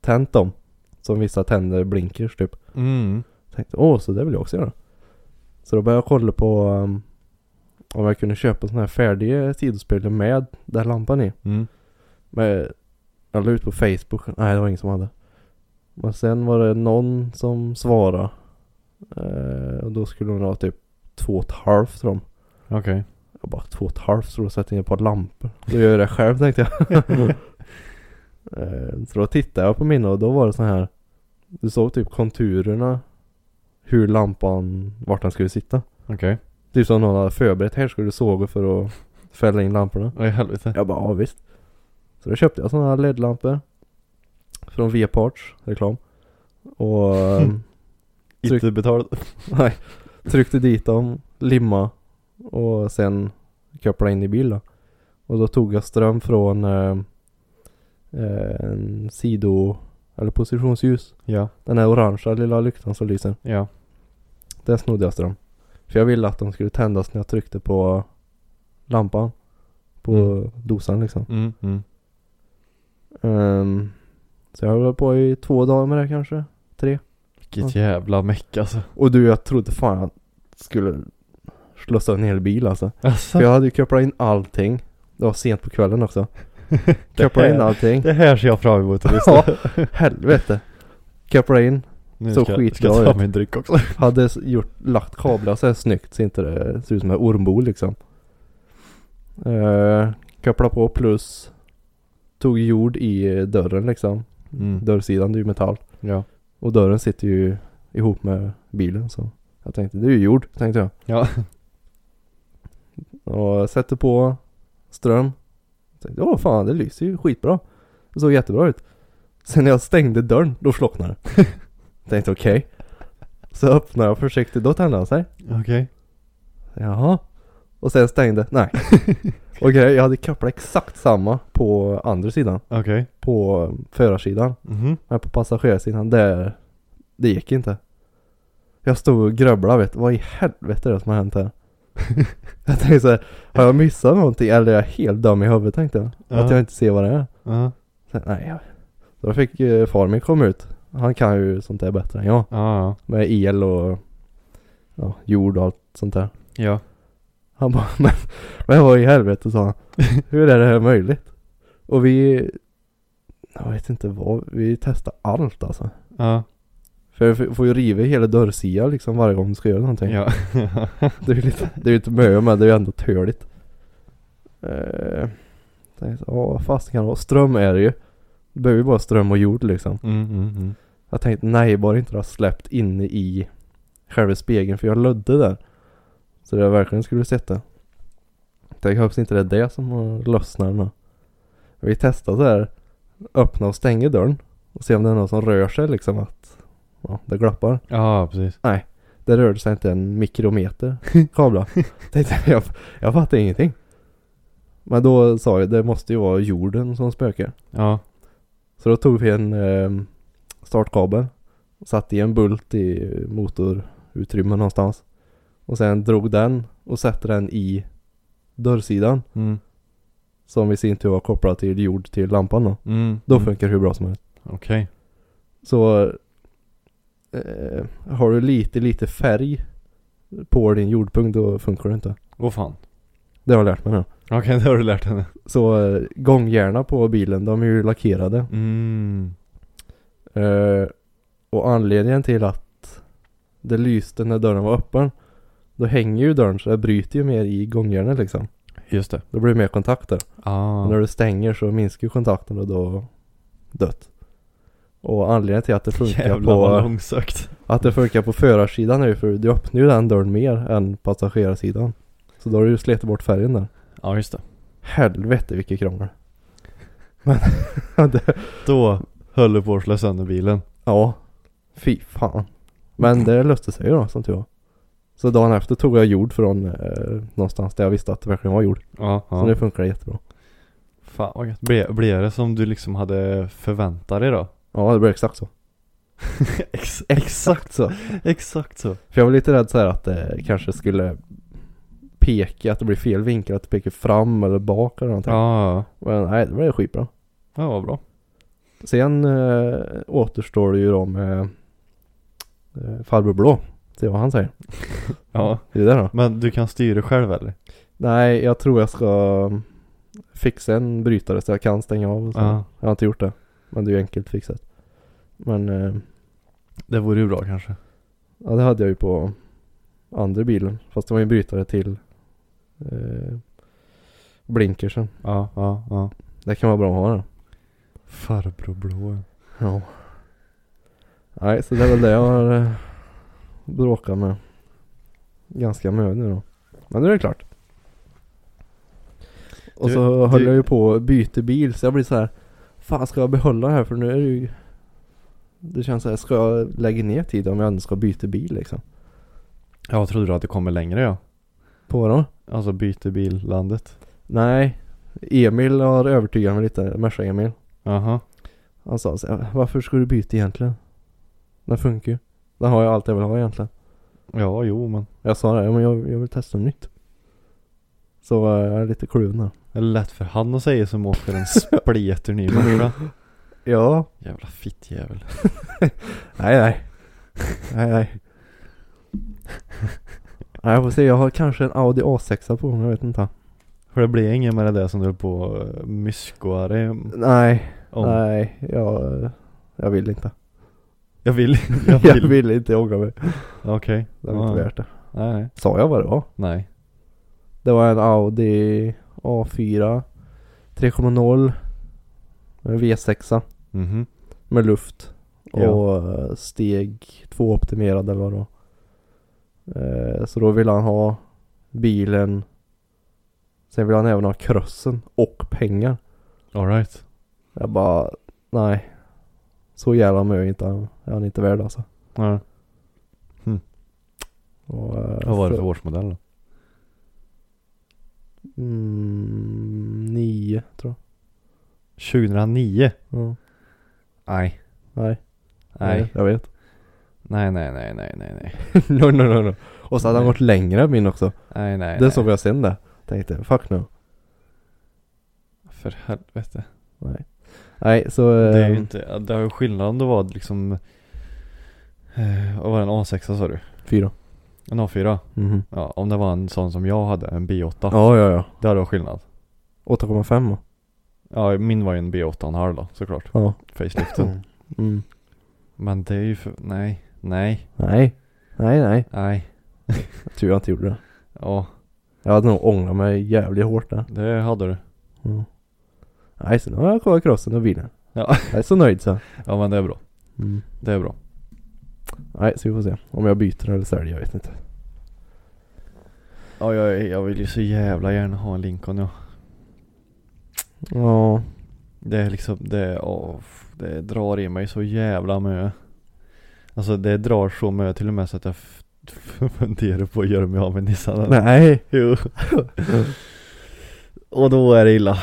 A: tänt dem. Som vissa tänder blinkers typ.
B: Mm.
A: Tänkte, åh så det vill jag också göra. Så då började jag kolla på um, om jag kunde köpa sådana här färdiga sidospeglar med där lampan i.
B: Mm.
A: Men jag la ut på Facebook, nej det var ingen som hade. Men sen var det någon som svarade. Eh, och då skulle hon ha typ två och ett halvt tror de.
B: Okej.
A: Jag bara två och ett halvt så då sätter jag in ett par lampor. Då gör jag det själv tänkte jag. Eh, så då tittade jag på mina och då var det så här. Du såg typ konturerna. Hur lampan, vart den skulle sitta.
B: Okej.
A: Typ som någon hade förberett. Här skulle du såga för att fälla in lamporna.
B: Vad i helvete.
A: Jag bara ja visst. Så då köpte jag sådana här LED-lampor. Från V-parts reklam. Och eh,
B: Inte betalt.
A: nej, tryckte dit dem, limma och sen kopplade in i bilen. Och då tog jag ström från eh, eh, en sido eller positionsljus.
B: Ja.
A: Den här orangea lilla lyktan som lyser.
B: Ja.
A: Där snodde jag ström. För jag ville att de skulle tändas när jag tryckte på lampan. På
B: Mm.
A: dosan liksom.
B: Mm. Mm.
A: Ehm, så jag höll på i två dagar med det kanske.
B: Vilket jävla meck alltså.
A: Och du jag trodde fan jag skulle slösa en hel bil alltså.
B: Alltså.
A: För jag hade ju kopplat in allting. Det var sent på kvällen också.
B: det
A: Kopplade in
B: här-
A: allting.
B: Det här ser jag fram emot att lyssna.
A: Ja, helvete. Kopplade in.
B: Nu
A: Så
B: ska,
A: skitbra
B: ska jag
A: ut.
B: ta min dryck också.
A: Hade s- gjort, lagt kablar så här snyggt så inte det ser ut som en ormbo liksom. Uh, kopplade på plus. Tog jord i eh, dörren liksom.
B: Mm.
A: Dörrsidan det är ju metall.
B: Ja.
A: Och dörren sitter ju ihop med bilen så. Jag tänkte det är ju jord tänkte jag.
B: Ja.
A: Och sätter på ström. Tänkte, Åh fan det lyser ju skitbra. Det såg jättebra ut. Sen när jag stängde dörren, då slocknade det. Tänkte okej. Så öppnade jag försiktigt, då tände han sig.
B: Okej.
A: Jaha. Och sen stängde, nej. Okej, jag hade kopplat exakt samma på andra sidan.
B: Okej.
A: På förarsidan.
B: Mhm.
A: Men på passagerarsidan, det, det gick inte. Jag stod och grubblade vet du. Vad i helvete är det som har hänt här? Jag tänkte så här, har jag missat någonting eller är jag helt dum i huvudet tänkte jag?
B: Ja.
A: Att jag inte ser vad det är.
B: Ja.
A: Så, här, nej, jag... Då fick eh, far min komma ut. Han kan ju sånt där bättre än jag.
B: Ja.
A: Med el och ja, jord och allt sånt där.
B: Ja.
A: Han bara, men, men vad i helvete sa han. Hur är det här möjligt? Och vi, jag vet inte vad, vi testar allt alltså.
B: Ja.
A: För vi får ju riva hela dörrsidan liksom varje gång du ska göra någonting.
B: Ja.
A: Det är ju lite, det är ju inte mö men det är ju ändå töligt. Eh, tänkte, ja vad fast kan det vara? Ström är det ju. Det behöver ju bara ström och jord liksom.
B: Mm, mm, mm.
A: Jag tänkte nej, bara inte det har släppt inne i själva spegeln för jag lödde där. Så det jag verkligen skulle sätta. Jag hoppas inte det är det som har lossnat nu. Vi testar så här. Öppna och stänga dörren. Och se om det är någon som rör sig liksom att. Ja, det glappar.
B: Ja, precis.
A: Det rörde sig inte en mikrometer kabla. Tänkte jag, jag, jag fattar ingenting. Men då sa jag det måste ju vara jorden som spökar.
B: Ja.
A: Så då tog vi en eh, startkabel. och Satte i en bult i motorutrymme någonstans. Och sen drog den och satte den i dörrsidan.
B: Mm.
A: Som i sin tur var kopplad till jord till lampan då.
B: Mm.
A: Då
B: Mm.
A: funkar det hur bra som helst.
B: Okej.
A: Så eh, har du lite, lite färg på din jordpunkt då funkar det inte.
B: Åh fan.
A: Det har jag lärt mig nu.
B: Okej, det har du lärt henne.
A: Så eh, gångjärna på bilen, de är ju lackerade.
B: Mm.
A: Eh, och anledningen till att det lyste när dörren var öppen, då hänger ju dörren så det bryter ju mer i gångjärnet liksom.
B: Just det.
A: Då blir det mer kontakter.
B: Ah.
A: Och när du stänger så minskar ju kontakten och då dött. Och anledningen till att det funkar
B: Jävlar
A: på...
B: vad långsökt.
A: Att det funkar på förarsidan är ju för du öppnar ju den dörren mer än passagerarsidan. Så då har du ju slitit bort färgen där.
B: Ja, just det.
A: Helvete vilket krångel. Men det,
B: Då höll du på att slå sönder bilen.
A: ja, fy fan. Men det löste sig ju då som tur var. Så dagen efter tog jag jord från eh, någonstans där jag visste att det verkligen var jord.
B: Ja,
A: Så nu
B: ja.
A: funkar det jättebra.
B: Fan vad gött. Blev, blev det som du liksom hade förväntat dig då?
A: Ja det blev exakt så.
B: Ex-
A: Exakt så.
B: exakt så.
A: För jag var lite rädd så här att det kanske skulle peka, att det blir fel vinkel, att det pekar fram eller bak eller någonting.
B: Ja, ja.
A: Men nej det blev skitbra.
B: ja vad bra.
A: Sen eh, återstår det ju då med eh, farbror blå. Se vad han säger.
B: Ja.
A: Det är det då.
B: Men du kan styra själv eller?
A: Nej, jag tror jag ska fixa en brytare så jag kan stänga av. och Så.
B: Ja.
A: Jag har inte gjort det. Men det är ju enkelt fixat. Men eh,
B: Det vore ju bra kanske.
A: ja, det hade jag ju på andra bilen. Fast det var ju en brytare till eh, blinkersen.
B: Ja, ja, ja.
A: Det kan vara bra att ha det.
B: Farbror blå.
A: Ja. Nej, så det är väl det jag har eh, bråkat med. Ganska mycket nu då. Men nu är det klart. Och
B: Du-
A: så höll
B: du-
A: jag ju på att byta bil så jag blir så här. Fan ska jag behålla det här för nu är det ju. Det känns så här, ska jag lägga ner tid om jag ändå ska byta bil liksom?
B: Jag trodde du att det kommer längre ja.
A: På dem?
B: Alltså byter billandet.
A: Nej. Emil har övertygat mig lite, Merca-Emil.
B: Jaha.
A: Han sa så här, varför ska du byta egentligen? Den funkar ju. Den har jag allt jag vill ha egentligen.
B: Ja, jo men.
A: Jag sa det, ja, men jag, jag vill testa något nytt. Så eh, jag är lite kluven här.
B: Det är lätt för han att säga som åker en spleter ny morsa.
A: Ja.
B: Jävla fittjävel.
A: Nej, nej. nej, nej. Nej, jag får se. Jag har kanske en Audi A6 på mig, jag vet inte.
B: För det blev inget med det där som du höll på eh, och myskoade
A: Nej,
B: mm, om.
A: nej. Jag, jag vill inte.
B: Jag vill. Jag
A: Jag
B: vill.
A: vill, inte åka mig.
B: Okej.
A: Det var inte
B: Ja.
A: värt det.
B: Nej, nej.
A: Sa jag vad det var?
B: Nej.
A: Det var en Audi A4 3.0 med V6
B: Mhm.
A: med luft.
B: Ja.
A: Och eh, steg två optimerad eller vad då. Eh, så då vill han ha bilen. Sen vill han även ha krossen och pengar.
B: Alright.
A: Jag bara, nej. Så jävla mycket inte han, är han inte värd alltså.
B: Ja.
A: Och, eh,
B: Vad var det för årsmodell då?
A: Mm, nio tror
B: 2009?
A: jag. Ja.
B: Nej.
A: Nej,
B: Nej.
A: jag vet.
B: Nej, nej, nej, nej, nej, nej.
A: no, no, no, no. Och så hade han
B: Nej.
A: gått längre min också.
B: Nej nej
A: det
B: nej.
A: såg jag sen där. Tänkte, fuck no.
B: För helvete.
A: Nej. Nej, så...
B: Det är ju
A: ehm,
B: inte, det är ju skillnad om det var liksom eh, Vad var det, en A6 sa du?
A: Fyra.
B: En A4?
A: Mhm.
B: Ja, om det var en sån som jag hade, en B8.
A: Ja, ja, ja.
B: Det hade varit skillnad.
A: 8,5 va?
B: Ja, min var ju en B8,5 då såklart.
A: Ja.
B: Faceliften.
A: Mm.
B: Men det är ju för, nej, nej,
A: Nej. Nej, nej.
B: nej.
A: Tur jag inte gjorde det.
B: Ja,
A: Jag hade nog ångrat mig jävligt hårt där.
B: det hade du.
A: Mm. Nej, så nu har jag kollat crossen och bilen.
B: Ja.
A: Jag är så nöjd så.
B: Ja men det är bra.
A: Mm.
B: Det är bra.
A: Nej, så vi får se. Om jag byter eller säljer, jag vet inte.
B: Ja, jag, jag vill ju så jävla gärna ha en Lincoln ja.
A: Ja.
B: Det är liksom, det, åh, f- det drar i mig så jävla mycket. Alltså det drar så mycket till och med så att jag f- f- funderar på att göra mig av med Nissan.
A: Nej.
B: Jo. och då är det illa.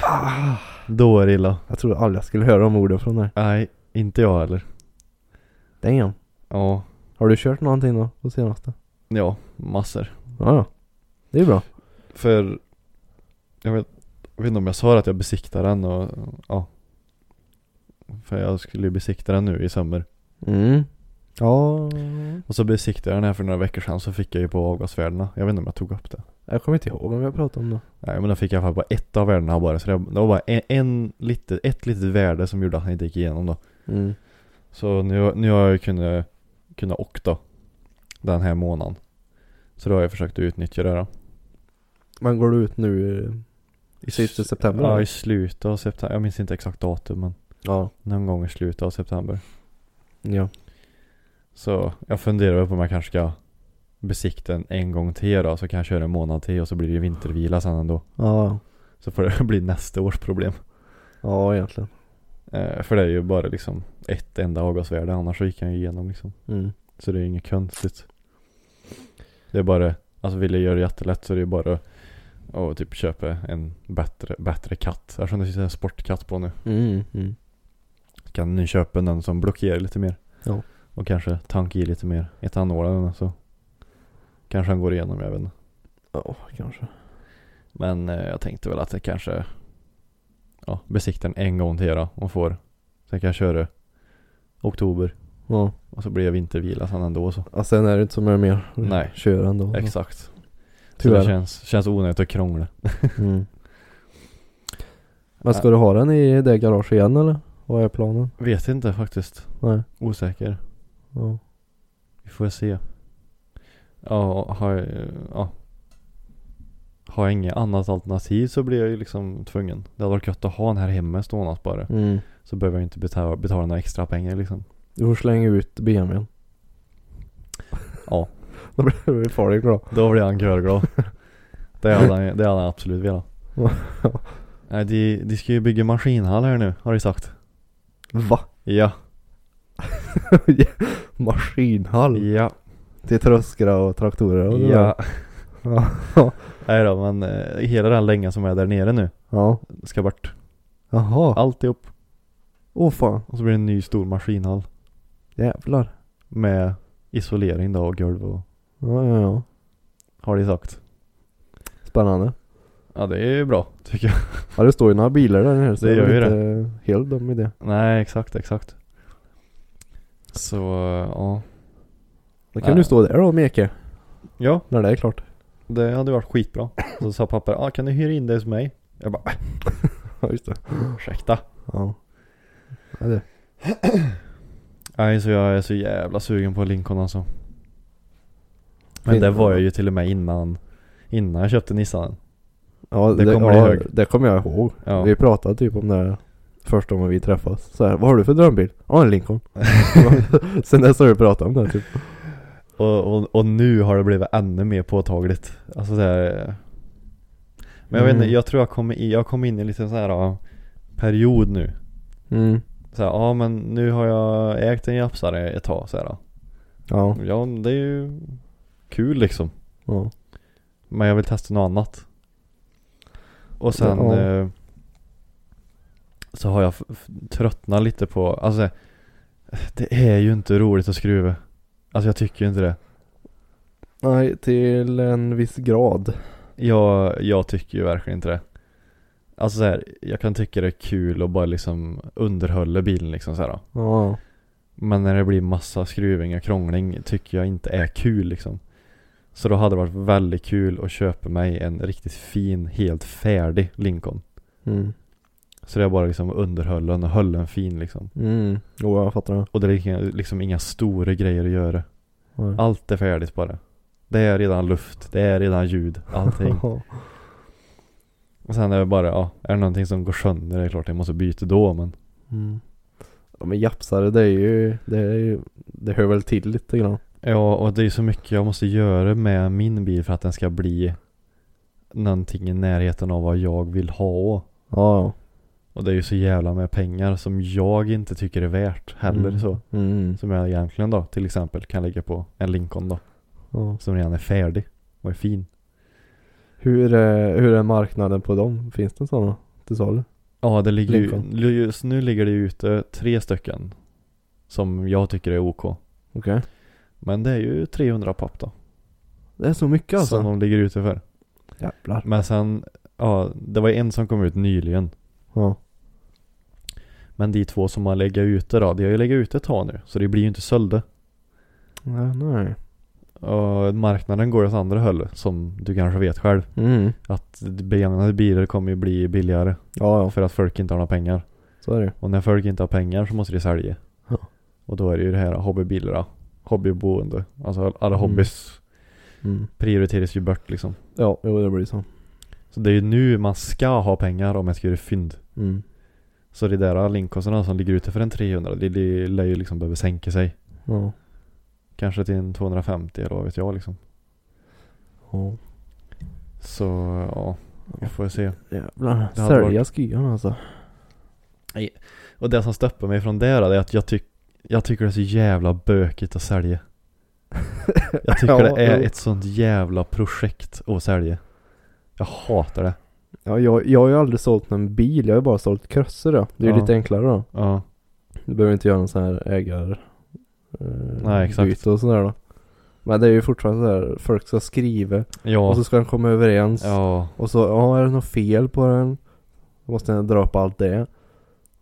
B: Då är det illa.
A: Jag trodde aldrig jag skulle höra de orden från dig.
B: Nej, inte jag heller.
A: Damn.
B: Ja,
A: Har du kört någonting då på senaste?
B: ja, massor.
A: Ja, ja. Det är bra.
B: För jag vet, jag vet inte om jag sa att jag besiktar den och ja. För jag skulle ju besikta den nu i sommar.
A: Mm. Ja.
B: Och så besiktade jag den här för några veckor sedan så fick jag ju på avgasvärdena. Jag vet inte om jag tog upp det.
A: Jag kommer inte ihåg om vi har pratat om det.
B: Nej men då fick jag i alla fall på ett av värdena bara. Så det, det var bara en, en litet, ett litet värde som gjorde att han inte gick igenom då.
A: Mm.
B: Så nu, nu har jag ju kunnat, kunnat åka den här månaden. Så då har jag försökt att utnyttja det då.
A: Men går du ut nu eh, i slutet av september?
B: Ja,
A: eller?
B: i slutet av september. Jag minns inte exakt datum men
A: ja.
B: någon gång i slutet av september.
A: Ja.
B: Så jag funderar på om jag kanske ska besikta den en gång till då. Så kan jag köra en månad till och så blir det ju vintervila sen ändå.
A: Ja.
B: Så får det bli nästa års problem.
A: Ja, egentligen.
B: Eh, för det är ju bara liksom ett enda avgasvärde annars så gick han ju igenom liksom.
A: Mm.
B: Så det är ju inget konstigt. Det är bara, alltså vill jag göra det jättelätt så det är bara att typ köpa en bättre, bättre katt. Eftersom det finns en sportkatt på nu.
A: Mm. Mm.
B: Kan ni köpa den som blockerar lite mer.
A: Ja.
B: Och kanske tanka i lite mer etanolen så kanske han går igenom, jag vet inte.
A: Ja, kanske.
B: Men eh, jag tänkte väl att jag kanske ja, besiktar den en gång till då och får. Sen kan jag köra oktober
A: Ja.
B: och så blir jag vintervila sen ändå så.
A: Och sen är det inte så mycket mer.
B: Nej.
A: Kör ändå.
B: Exakt. Så
A: Tyvärr.
B: det känns, känns onödigt att krångla.
A: Mm. Men ska du ha den i det garaget igen eller? Vad är planen?
B: Vet inte faktiskt.
A: Nej.
B: Osäker.
A: Ja.
B: Vi får se. Ja, har jag, ja. Har jag inget annat alternativ så blir jag ju liksom tvungen. Det hade varit gött att ha den här hemma stående bara.
A: Mm.
B: Så behöver jag inte betala, betala några extra pengar liksom.
A: Du får slänga ut BMWn.
B: Ja.
A: Då blir farlig glad.
B: Då blir han görglad. det, hade han, det hade han absolut velat. Nej, de, de ska ju bygga maskinhall här nu, har de sagt.
A: Va?
B: Ja.
A: Maskinhall?
B: Ja.
A: Till tröskor och traktorer och det där.
B: Ja.
A: Ja.
B: Nej då, men eh, hela den längan som är där nere nu
A: Ja.
B: ska bort.
A: Jaha.
B: Alltihop.
A: Åh fan.
B: Och så blir det en ny stor maskinhall.
A: Jävlar.
B: Med isolering då och golv och
A: Ja, ja, ja.
B: har de sagt.
A: Spännande.
B: Ja det är ju bra tycker jag.
A: Ja det står ju några bilar där nere så
B: Det
A: jag är
B: gör ju
A: inte helt dum i det.
B: Nej exakt, exakt. Så ja.
A: Då kan
B: Nej.
A: du stå där då och meka.
B: Ja,
A: När det är klart.
B: det hade varit skitbra. Så sa pappa, ah, kan du hyra in det hos mig? Jag bara,
A: Ja just det.
B: ursäkta.
A: Ja. ja det.
B: Nej så jag är så jävla sugen på Lincoln alltså. Men det var jag ju till och med innan, innan jag köpte Nissan.
A: Ja, det,
B: Det kommer
A: kommer
B: du
A: ja,
B: ihåg.
A: det kommer jag ihåg.
B: Ja.
A: Vi pratade typ om det här första gången vi träffas. Så här, vad har du för drömbil? Ja, en Lincoln. Sen dess har vi pratat om det här, typ.
B: Och, och, och nu har det blivit ännu mer påtagligt. Alltså så här. eh. Men jag vet
A: Mm.
B: inte, jag tror jag kommer i, jag kom in i en liten så här ja, period nu.
A: Mm.
B: Så här, ja men nu har jag ägt en japsare ett tag så här. ja.
A: Ja,
B: Ja det är ju kul liksom.
A: ja.
B: Men jag vill testa något annat. Och sen
A: Ja.
B: eh, så har jag f- f- tröttnat lite på, alltså det är ju inte roligt att skruva. Alltså jag tycker ju inte det.
A: Nej, till en viss grad.
B: Jag, jag tycker ju verkligen inte det. Alltså så här, jag kan tycka det är kul och bara liksom underhålla bilen liksom så här. då.
A: Ja.
B: Men när det blir massa skruvingar och krångling tycker jag inte är kul liksom. Så då hade det varit väldigt kul att köpa mig en riktigt fin, helt färdig Lincoln.
A: Mm.
B: Så det är bara liksom underhållen och höll den fin liksom.
A: Mm. Jo, jag fattar det.
B: Och det är lika- liksom inga stora grejer att göra.
A: Nej.
B: Allt är färdigt bara. Det är redan luft, det är redan ljud, allting. Och sen är det bara, ja, är det någonting som går sönder, det är klart jag måste byta då men
A: Mm. Ja men japsare det är ju, det är ju, det hör väl till lite grann.
B: Ja, och det är så mycket jag måste göra med min bil för att den ska bli någonting i närheten av vad jag vill ha.
A: Ja,
B: Och det är ju så jävla med pengar som jag inte tycker är värt
A: ja.
B: heller så.
A: Mm.
B: Som jag egentligen då till exempel kan lägga på en Lincoln då.
A: Ja.
B: Som redan är färdig och är fin.
A: Hur, är, hur är marknaden på dem? Finns det sådana till salu?
B: Ja, det ligger ju,
A: Lincoln.
B: li- just nu ligger det ute tre stycken. Som jag tycker är OK.
A: Okej.
B: Men det är ju 300 papp då.
A: Det är så mycket
B: Som de ligger ute för.
A: Jävlar.
B: Men sen, ja, det var en som kom ut nyligen.
A: Ja.
B: Men de två som har legat ute då, de har ju legat ute ett tag nu. Så det blir ju inte sålda.
A: Nej, nej.
B: Och marknaden går åt andra hållet, som du kanske vet själv.
A: Mm.
B: Begagnade bilar kommer ju bli billigare
A: Ja, ja.
B: för att folk inte har några pengar.
A: Så är det ju.
B: Och när folk inte har pengar så måste de sälja.
A: Ja.
B: Och då är det ju det här hobbybilar då. Hobbyboende. Alltså alla hobbys
A: Mm.
B: prioriteras ju bort liksom.
A: Ja, jo det blir så.
B: Så det är ju nu man ska ha pengar om man ska göra fynd.
A: Mm.
B: Så de där linkosarna som ligger ute för en 300, de, de lär ju liksom behöva sänka sig.
A: Ja.
B: Kanske till en 250 eller vad vet jag liksom.
A: ja.
B: Så ja, vi får se.
A: Jävlar.
B: Det hade
A: Sälja skyan alltså.
B: Och det som stoppar mig från det då, det är att jag, tyck, jag tycker det är så jävla bökigt att sälja. Jag tycker
A: Ja,
B: det är
A: jo.
B: ett sånt jävla projekt att sälja. Jag hatar det.
A: Ja, jag, jag har ju aldrig sålt någon bil. Jag har ju bara sålt krosser då. Det är ju
B: Ja.
A: lite enklare då.
B: Ja,
A: Du behöver inte göra någon sån här ägar... Eh,
B: Nej, exakt.
A: byte och sådär då. Men det är ju fortfarande så här, folk ska skriva och
B: ja,
A: så ska de komma överens.
B: ja,
A: Och så, ja är det något fel på den? Då måste den dra upp allt det.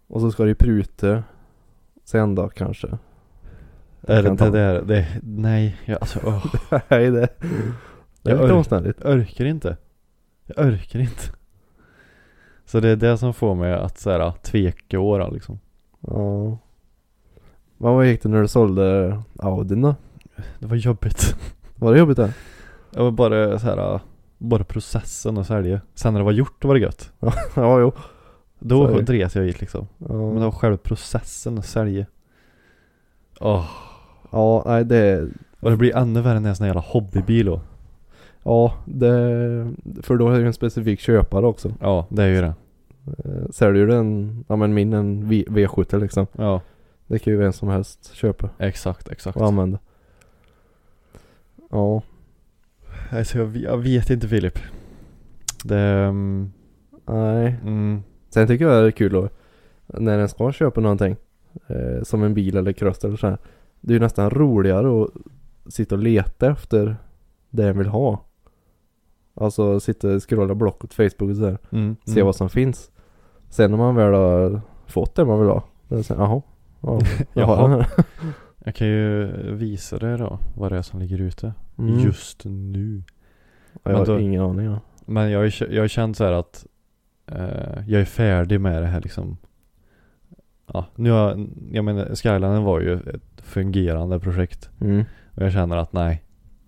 A: Och så ska det ju pruta. Sen då kanske.
B: är det,
A: kan
B: det
A: ta-
B: där, det, nej, jag, alltså, åh,
A: Nej det... Det
B: Jag
A: är lite
B: ör-
A: omständigt.
B: jag orkar inte. Jag orkar inte. Så det är det som får mig att så här, ah, tveka åra liksom.
A: Ja. Men vad gick det när du sålde Audin då?
B: Det var jobbigt.
A: Var det jobbigt det?
B: Det var bara så här, ah, bara processen att sälja. Sen när det var gjort var det gött.
A: ja jo.
B: Då
A: Så är det.
B: dret jag i det, liksom.
A: Ja,
B: Men det var själva processen att sälja. Åh,
A: ja nej det...
B: och det blir ännu värre när det är en sån här jävla hobbybil då.
A: Ja, det, för då är det ju en specifik köpare också.
B: Ja, det är ju det.
A: Eh, Säljer du en, ja men min en V- V70 liksom.
B: Ja,
A: Det kan ju vem som helst köpa
B: exakt, exakt.
A: och använda. Ja,
B: Alltså, jag, jag vet inte Filip. Det, mm,
A: nej.
B: mm,
A: Sen tycker jag det är kul då, när en ska köpa någonting. Eh, som en bil eller cross eller så här. Det är ju nästan roligare att sitta och leta efter det en vill ha. Alltså sitta och scrolla Blocket, Facebook och sådär.
B: mm,
A: se
B: mm.
A: vad som finns. Sen när man väl har fått det man vill ha, då är det så här, jaha. Ja, jag har den här.
B: Jag kan ju visa dig då vad det är som ligger ute.
A: Mm.
B: Just nu.
A: Ja, jag har
B: men då-
A: ingen aning. Ja.
B: Men jag har ju kä- jag har känt så här att eh, jag är färdig med det här liksom. Ja, nu har, jag menar Skylinen var ju ett fungerande projekt.
A: Mm.
B: Och jag känner att nej,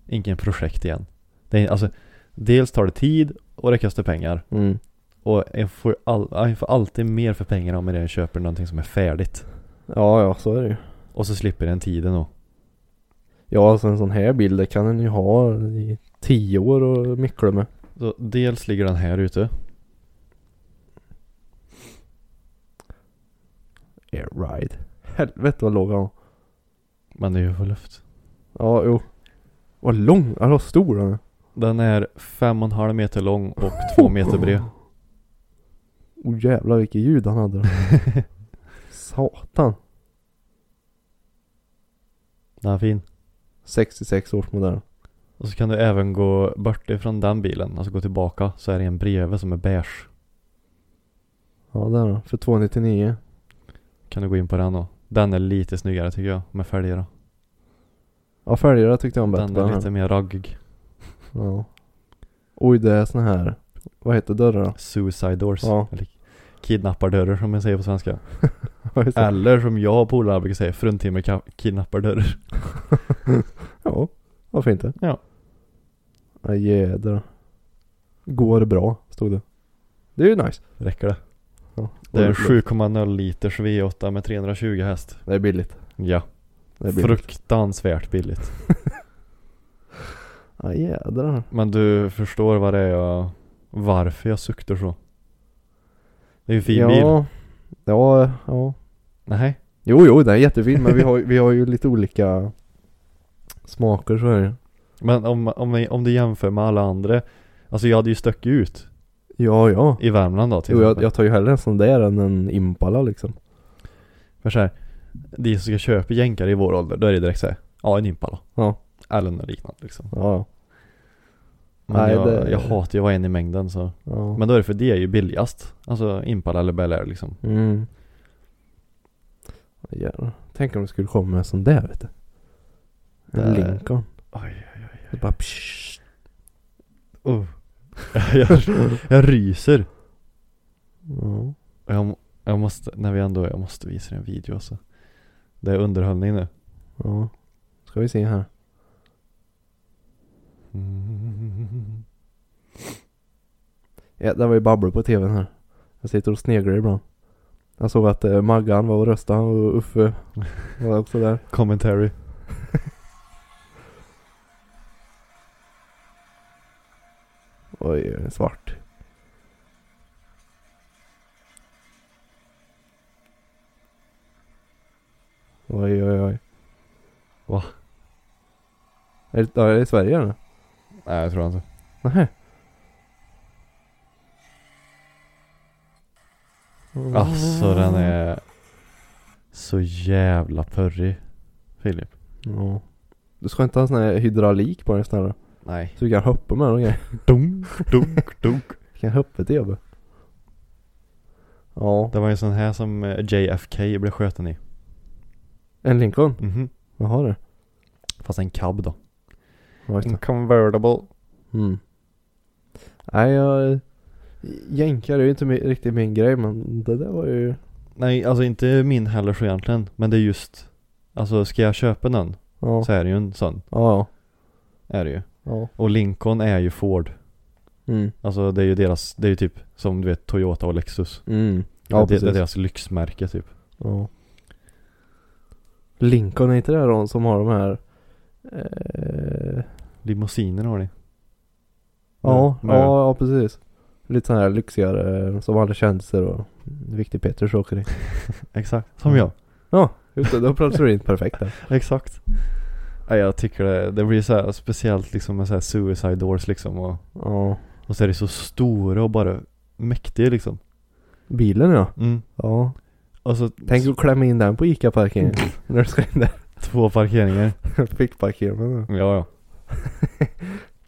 B: ingen projekt igen. Det är, alltså, dels tar det tid och det kostar pengar.
A: Mm.
B: Och jag får, all, jag får alltid mer för pengarna om jag köper någonting som är färdigt.
A: Ja, ja, så är det ju.
B: Och så slipper den tiden då.
A: Ja, alltså en sån här bild, det kan en ju ha i tio år och mickla med.
B: Så dels ligger den här ute.
A: Air ride. Helvete vad låg han var.
B: Men det är ju för luft.
A: Ja, jo. Vad lång, ja, vad stor han är.
B: Den är fem och en halv meter lång och två meter bred.
A: Oh jävlar vilket ljud han hade. då. Satan.
B: Den är fin.
A: 66 års modell.
B: Och så kan du även gå bort ifrån den bilen, alltså gå tillbaka, så är det en bredvid som är beige.
A: Ja där då. För 299.
B: Kan du gå in på den då? Den är lite snyggare tycker jag, med fälgar då.
A: Ja följare tyckte jag om bättre.
B: Den
A: Den
B: är lite mer raggig.
A: Ja. Oj det är sån här. Vad heter dörrar då?
B: Suicide doors.
A: Ja.
B: Eller kidnappardörrar som jag säger på svenska.
A: Ja, just det.
B: Eller som jag och polarna brukar säga, fruntimmerkidnappardörrar.
A: ja. Varför inte?
B: Ja.
A: Ja jädrar. Går bra. Stod det. Det är ju nice.
B: Räcker det?
A: Ja.
B: Det är en 7,0 liters V8 med 320 häst.
A: Det är billigt.
B: Ja,
A: Det är billigt.
B: fruktansvärt billigt.
A: Ja jädrar.
B: Men du förstår vad det är jag, varför jag suktar så. Det är ju en fin
A: ja.
B: bil.
A: Ja, ja.
B: Nej,
A: Jo, jo, den är jättefin men vi har, vi har ju lite olika smaker så är det ju.
B: men om, om, om du jämför med alla andra. Alltså jag hade ju stuckit ut
A: Ja, ja.
B: i Värmland då till
A: Jo, jag,
B: exempel.
A: jag tar ju hellre en sån där än en Impala liksom.
B: För så här, de som ska köpa jänkare i vår ålder, då är det direkt såhär, ja en Impala.
A: Ja.
B: Eller något liknande liksom.
A: Ja, ja.
B: Men
A: Nej,
B: jag,
A: det-
B: jag hatar ju att vara en i mängden så.
A: ja.
B: Men då är det för det är ju billigast. Alltså Impala eller Bel Air liksom.
A: Mm. Jävlar. Tänk om det skulle komma en sån där vet du. En
B: Där.
A: Lincoln.
B: Oj,
A: Det bara psh.
B: Oh. jag, jag ryser.
A: Ja.
B: Och Jag, må- jag måste, när vi ändå, jag måste visa dig en video alltså. Det är underhållning nu.
A: ja. Ska vi se här. Ja, det var ju babblor på tvn här. Jag sitter och sneglar ibland. Jag såg att eh, Maggan var och röstade och Uffe var också där.
B: Commentary.
A: Oj, svart. Oj, oj, oj.
B: Va?
A: Är det, ja, är det i Sverige eller?
B: Nej jag tror inte.
A: Nej.
B: Alltså den är så jävla purrig. Filip.
A: Ja. Du ska inte ha sån här hydraulik på den snälla?
B: Nej.
A: Så du kan hoppa med den och grejer.
B: Dunk, dunk, dunk.
A: Du kan hoppa till jobbet. Ja.
B: Det var ju en sån här som eh, JFK blev skjuten i.
A: En Lincoln?
B: Mhm.
A: Jaha du.
B: Fast en cab då.
A: Ja, just det.
B: convertible.
A: Mm. Nej, jag... Jänkar är ju inte mi- riktigt min grej, men det där var ju...
B: Nej, alltså inte min heller så egentligen. Men det är just, alltså ska jag köpa någon
A: Ja,
B: så är det ju en sån.
A: ja,
B: Är det ju.
A: ja.
B: Och Lincoln är ju Ford.
A: ja. Mm.
B: Alltså det är ju deras, det är ju typ som du vet Toyota och Lexus.
A: Mm.
B: Ja,
A: Ja,
B: det, det är
A: precis.
B: deras lyxmärke typ.
A: Ja. Lincoln, är inte det de som har de här... Eh,
B: Limousiner har ni.
A: ja,
B: med-
A: ja, ja, precis. Lite sådana här lyxigare eh, som alla kändisar och Viktig Peters åker i.
B: Exakt. Som jag.
A: Ja, just det. Då platsar du in perfekt där.
B: Exakt. Ja, jag tycker det, det blir så här speciellt liksom med så här suicide doors liksom och,
A: Ja.
B: och så är det så stora och bara mäktiga liksom. Alltså,
A: Bilen ja.
B: Mm.
A: Ja. Mm.
B: Och så
A: Tänk att klämma in den på ICA-parkeringen. när du ska in där.
B: två parkeringar.
A: Fickparkeringen. då.
B: Ja, ja.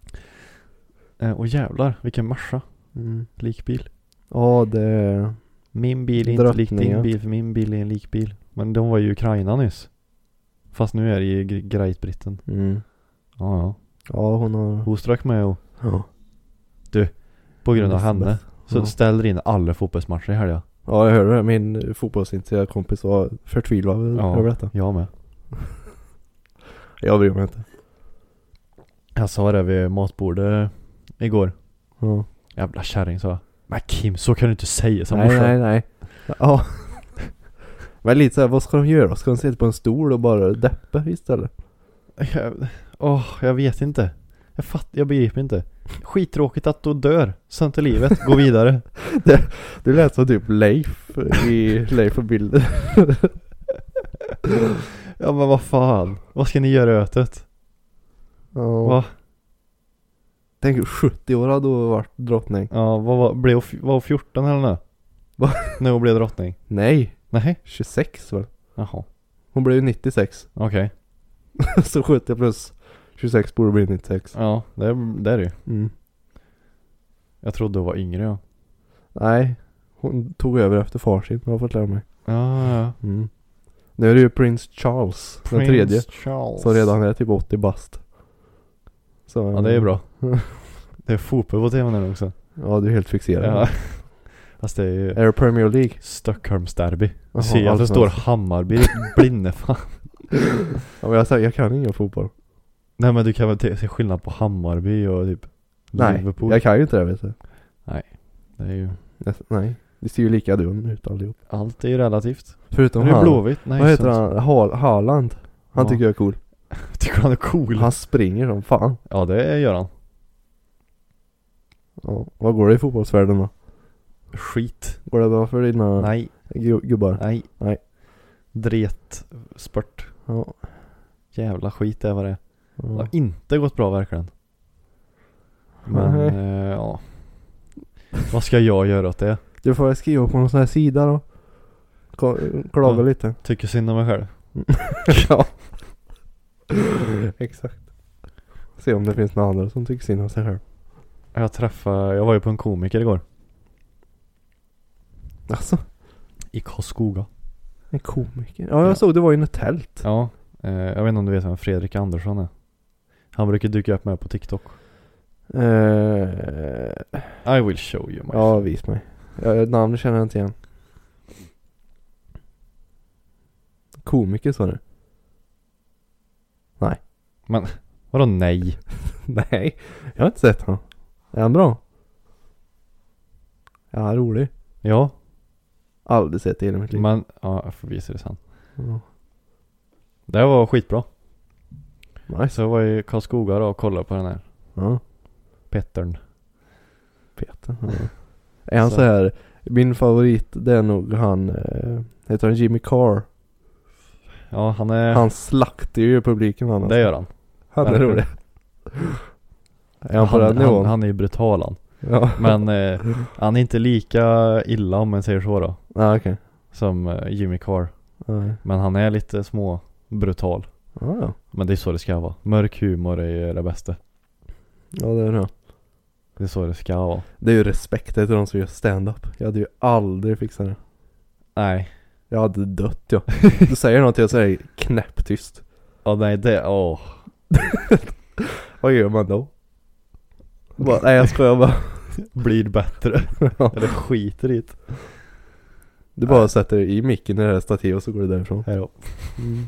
B: eh, och jävlar, vilken Merca.
A: Mm.
B: Likbil.
A: Ja, det...
B: Min bil är inte lik din
A: Drottningen.
B: bil, för min bil är en likbil. Men de var ju i Ukraina nyss. Fast nu är det i Gre- Great-Britten.
A: Mm.
B: Ja, ja.
A: Ja, hon har...
B: Hon strök med och
A: Ja.
B: på grund av
A: Elizabeth.
B: henne så
A: Ja.
B: ställer in alla fotbollsmatcher i helgen.
A: Ja, jag hörde det. Min fotbollsintresserade kompis var förtvivlad
B: Ja.
A: över detta.
B: Jag med.
A: Jag bryr mig inte.
B: Jag sa det vid matbordet igår.
A: Ja.
B: Jävla kärring sa jag. Men Kim, så kan du inte säga som
A: Nej,
B: morsan.
A: nej, nej. Ja. Men lite såhär, vad ska de göra? Ska de sitta på en stol och bara deppa istället?
B: Jag, åh, jag vet inte. Jag fatt, jag begriper inte. Skittråkigt att du dör. Sånt är livet. Gå vidare.
A: Det lät som typ Leif i Leif och bilder.
B: ja men vad fan. Vad ska ni göra åt det?
A: Ja.
B: Va?
A: Tänk 70 år hade hon varit drottning.
B: Ja, vad var, blev hon f- var hon 14 eller nu?
A: Va?
B: När hon blev drottning?
A: Nej,
B: Nej.
A: 26 väl?
B: Jaha.
A: Hon blev ju 96.
B: Okej.
A: Så 70 plus 26 borde bli 96.
B: Ja, det, är- det är det ju.
A: Mm.
B: Jag trodde du var yngre ja.
A: Nej, hon tog över efter far sin har jag fått lära mig.
B: Ja, ja.
A: Mm. Nu är det ju Prince Charles, den tredje.
B: Charles.
A: Som redan är typ 80 bast. Så,
B: Ja, det är bra. Det är fotboll på tvn nu också.
A: Ja, du är helt fixerad.
B: Ja. Fast det är ju
A: Är det Premier League?
B: Stockholmsderby.
A: Jaha,
B: Du ser att det står
A: allsvenskan.
B: Hammarby, blinne fan.
A: Ja, men jag, säger, jag kan ingen fotboll.
B: Nej men du kan väl te- se skillnad på Hammarby och typ
A: Nej,
B: Liverpool?
A: jag kan ju inte det vet du.
B: Det är ju,
A: Jag, nej, det ser ju likadant ut allihop.
B: allt är ju relativt.
A: Förutom
B: Men det är
A: han.
B: Blåvitt, nej
A: Vad heter
B: sant.
A: han? Ha- Haaland. Han
B: Ja.
A: tycker jag är cool.
B: Tycker han är cool?
A: Han springer som fan.
B: Ja det gör han.
A: Ja. Vad går det i fotbollsvärlden då?
B: Skit.
A: Går det bra för dina
B: Nej,
A: gu- gubbar?
B: nej.
A: Nej.
B: Dret, spört.
A: Ja.
B: Jävla skit är vad det är. Det
A: ja.
B: har inte gått bra verkligen. Men,
A: Nej.
B: eh, ja. Vad ska jag göra åt det?
A: Du får väl skriva på någon sån här sida då. Ko- Klaga
B: Ja.
A: lite.
B: Tycker synd om mig själv.
A: ja. Exakt. Se om det finns några andra som tycker synd om sig själv.
B: Jag träffade, jag var ju på en komiker igår.
A: Alltså,
B: I Karlskoga.
A: en komiker. Ja, jag
B: Ja.
A: såg det var ju något tält.
B: Ja, eh, jag vet inte om du vet vem Fredrik Andersson är? Han brukar dyka upp med på TikTok.
A: Eh,
B: I will show you my
A: ja, vis mig. Ja, namnet känner jag inte igen. Komiker sa du?
B: Vadå nej?
A: Nej, jag har inte sett han. Är han bra? Ja, han är rolig.
B: Ja,
A: Aldrig sett det i hela mitt liv.
B: men ja, jag får visa det sen.
A: Ja.
B: Det här var skitbra.
A: Nice.
B: Så jag var i Karlskoga då och kollade på den här
A: Ja,
B: Pettern.
A: Peter. Ja. Är han
B: Så.
A: så. här, min favorit det är nog han, eh, heter han Jimmy Carr?
B: Ja, han är...
A: Han slaktar ju publiken han
B: det
A: alltså.
B: gör han.
A: Han är
B: verkligen.
A: rolig. Är han på den
B: han,
A: nivån?
B: han, är ju brutal han.
A: Ja.
B: Men eh, han är inte lika illa om man säger så då.
A: Ja, okej.
B: Som eh, Jimmy Carr.
A: Ja, ja.
B: Men han är lite små brutal.
A: Ja, ja.
B: Men det är så det ska vara. Mörk humor är ju det bästa.
A: Ja, det är det.
B: Det är så det ska vara.
A: Det är ju respekt till de som gör stand-up. Jag hade ju aldrig fixat det.
B: Nej.
A: Jag hade dött jag. Du säger något till jag säger knäpptyst.
B: Ja nej det, åh.
A: Vad gör man då? Bara, nej jag skojar bara.
B: Blir bättre.
A: Ja.
B: Eller skiter i det.
A: Du bara sätter i micken i det här stativet och så går du därifrån.
B: Hejdå. Mm.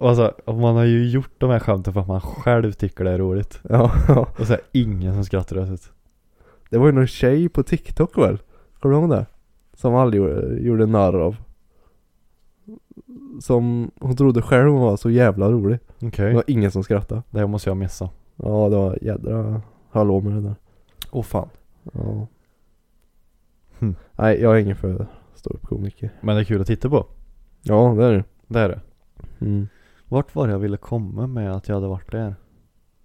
B: Alltså, man har ju gjort de här skämten för att man själv tycker det är roligt.
A: Ja, ja.
B: Och så är det ingen som skrattar åt det.
A: Det var ju någon tjej på TikTok väl? Kommer du ihåg det? Som aldrig gjorde, gjorde narr av. Som hon trodde själv hon var så jävla rolig.
B: Okej.
A: Det var ingen som skrattade.
B: Det här måste jag missa.
A: Ja det var jädra hallå med det där.
B: Åh fan.
A: Ja.
B: Hmm.
A: Nej jag är ingen för ståuppkomiker.
B: Men det är kul att titta på.
A: Ja det är det.
B: Det är det.
A: Mm.
B: Vart var det jag ville komma med att jag hade varit där?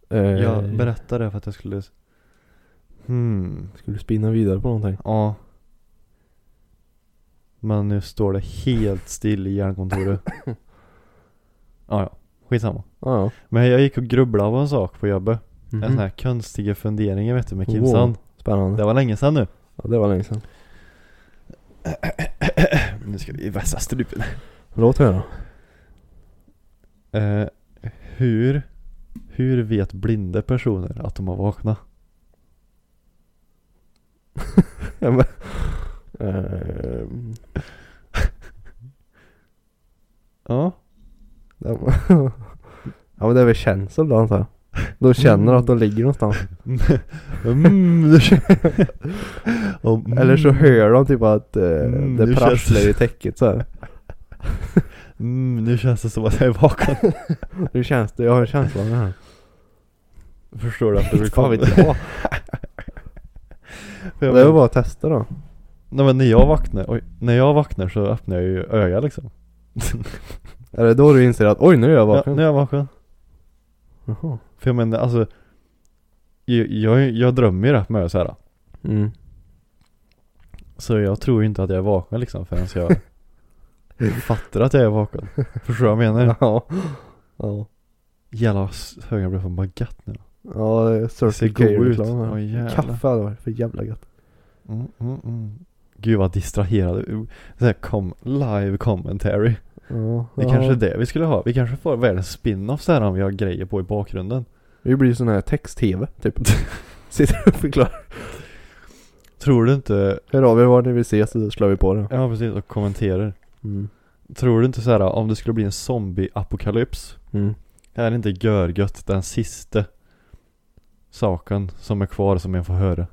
A: Eh,
B: Jag berättade för att jag skulle... Hmm.
A: Skulle du spinna vidare på någonting?
B: Ja. Men nu står det helt still i hjärnkontoret. ja, ja. Skitsamma.
A: Ja ja.
B: Men jag gick och grubblade på en sak på jobbet. En sån
A: Mhm.
B: här konstiga funderingar vet du med Kimsan.
A: Wow. Spännande.
B: Det var länge sedan nu.
A: Ja det var länge sedan.
B: Nu ska vi vässa strupen.
A: Låt höra.
B: Eh, hur, hur vet blinda personer att de har vaknat?
A: Ja, men, Ehm,
B: Ja.
A: det var- ja men det är väl känsel då antar jag. De känner att de ligger någonstans.
B: Mm, det kän- Och mm,
A: Eller så hör de typ att eh,
B: Mm,
A: det
B: det
A: prasslar
B: känns-
A: i täcket så här.
B: Mm, nu känns det som att jag är vaken.
A: Nu känns det, jag har en känsla av det här.
B: Förstår du att du vill
A: Fan
B: komma?
A: vet jag.
B: För
A: Det
B: jag
A: var
B: men,
A: bara att testa då.
B: nej, men när jag vaknar, oj, när jag vaknar så öppnar jag ju ögat liksom.
A: Är det då du inser att oj nu är jag
B: Ja,
A: vaken?
B: nu är jag vaken.
A: Jaha.
B: För jag menar alltså, jag, jag, jag drömmer ju rätt mycket så här.
A: Mm.
B: Så jag tror ju inte att jag är vaken liksom förrän jag fattar att jag är vaken. Förstår du vad jag menar?
A: Ja. Ja.
B: Jävla höga blev för baguette nu.
A: Ja, det är
B: Det ser
A: Circle
B: god ut.
A: K-reklam här.
B: Åh jävlar.
A: Kaffe hade varit för jävla gött.
B: Mm, mm, mm. Gud vad distraherade. Så här kom, live commentary.
A: Ja,
B: Det är
A: ja.
B: kanske är det vi skulle ha. Vi kanske får världens spin-off så här om vi har grejer på i bakgrunden.
A: Vi blir sån här text-tv typ. Sitter och förklarar.
B: Tror du inte,
A: Hör av er var ni vill ses och så slår vi på det.
B: ja precis, och kommenterar.
A: Mm.
B: Tror du inte så här om det skulle bli en zombie-apokalyps?
A: Mm.
B: Är det inte görgött den sista saken som är kvar som jag får höra?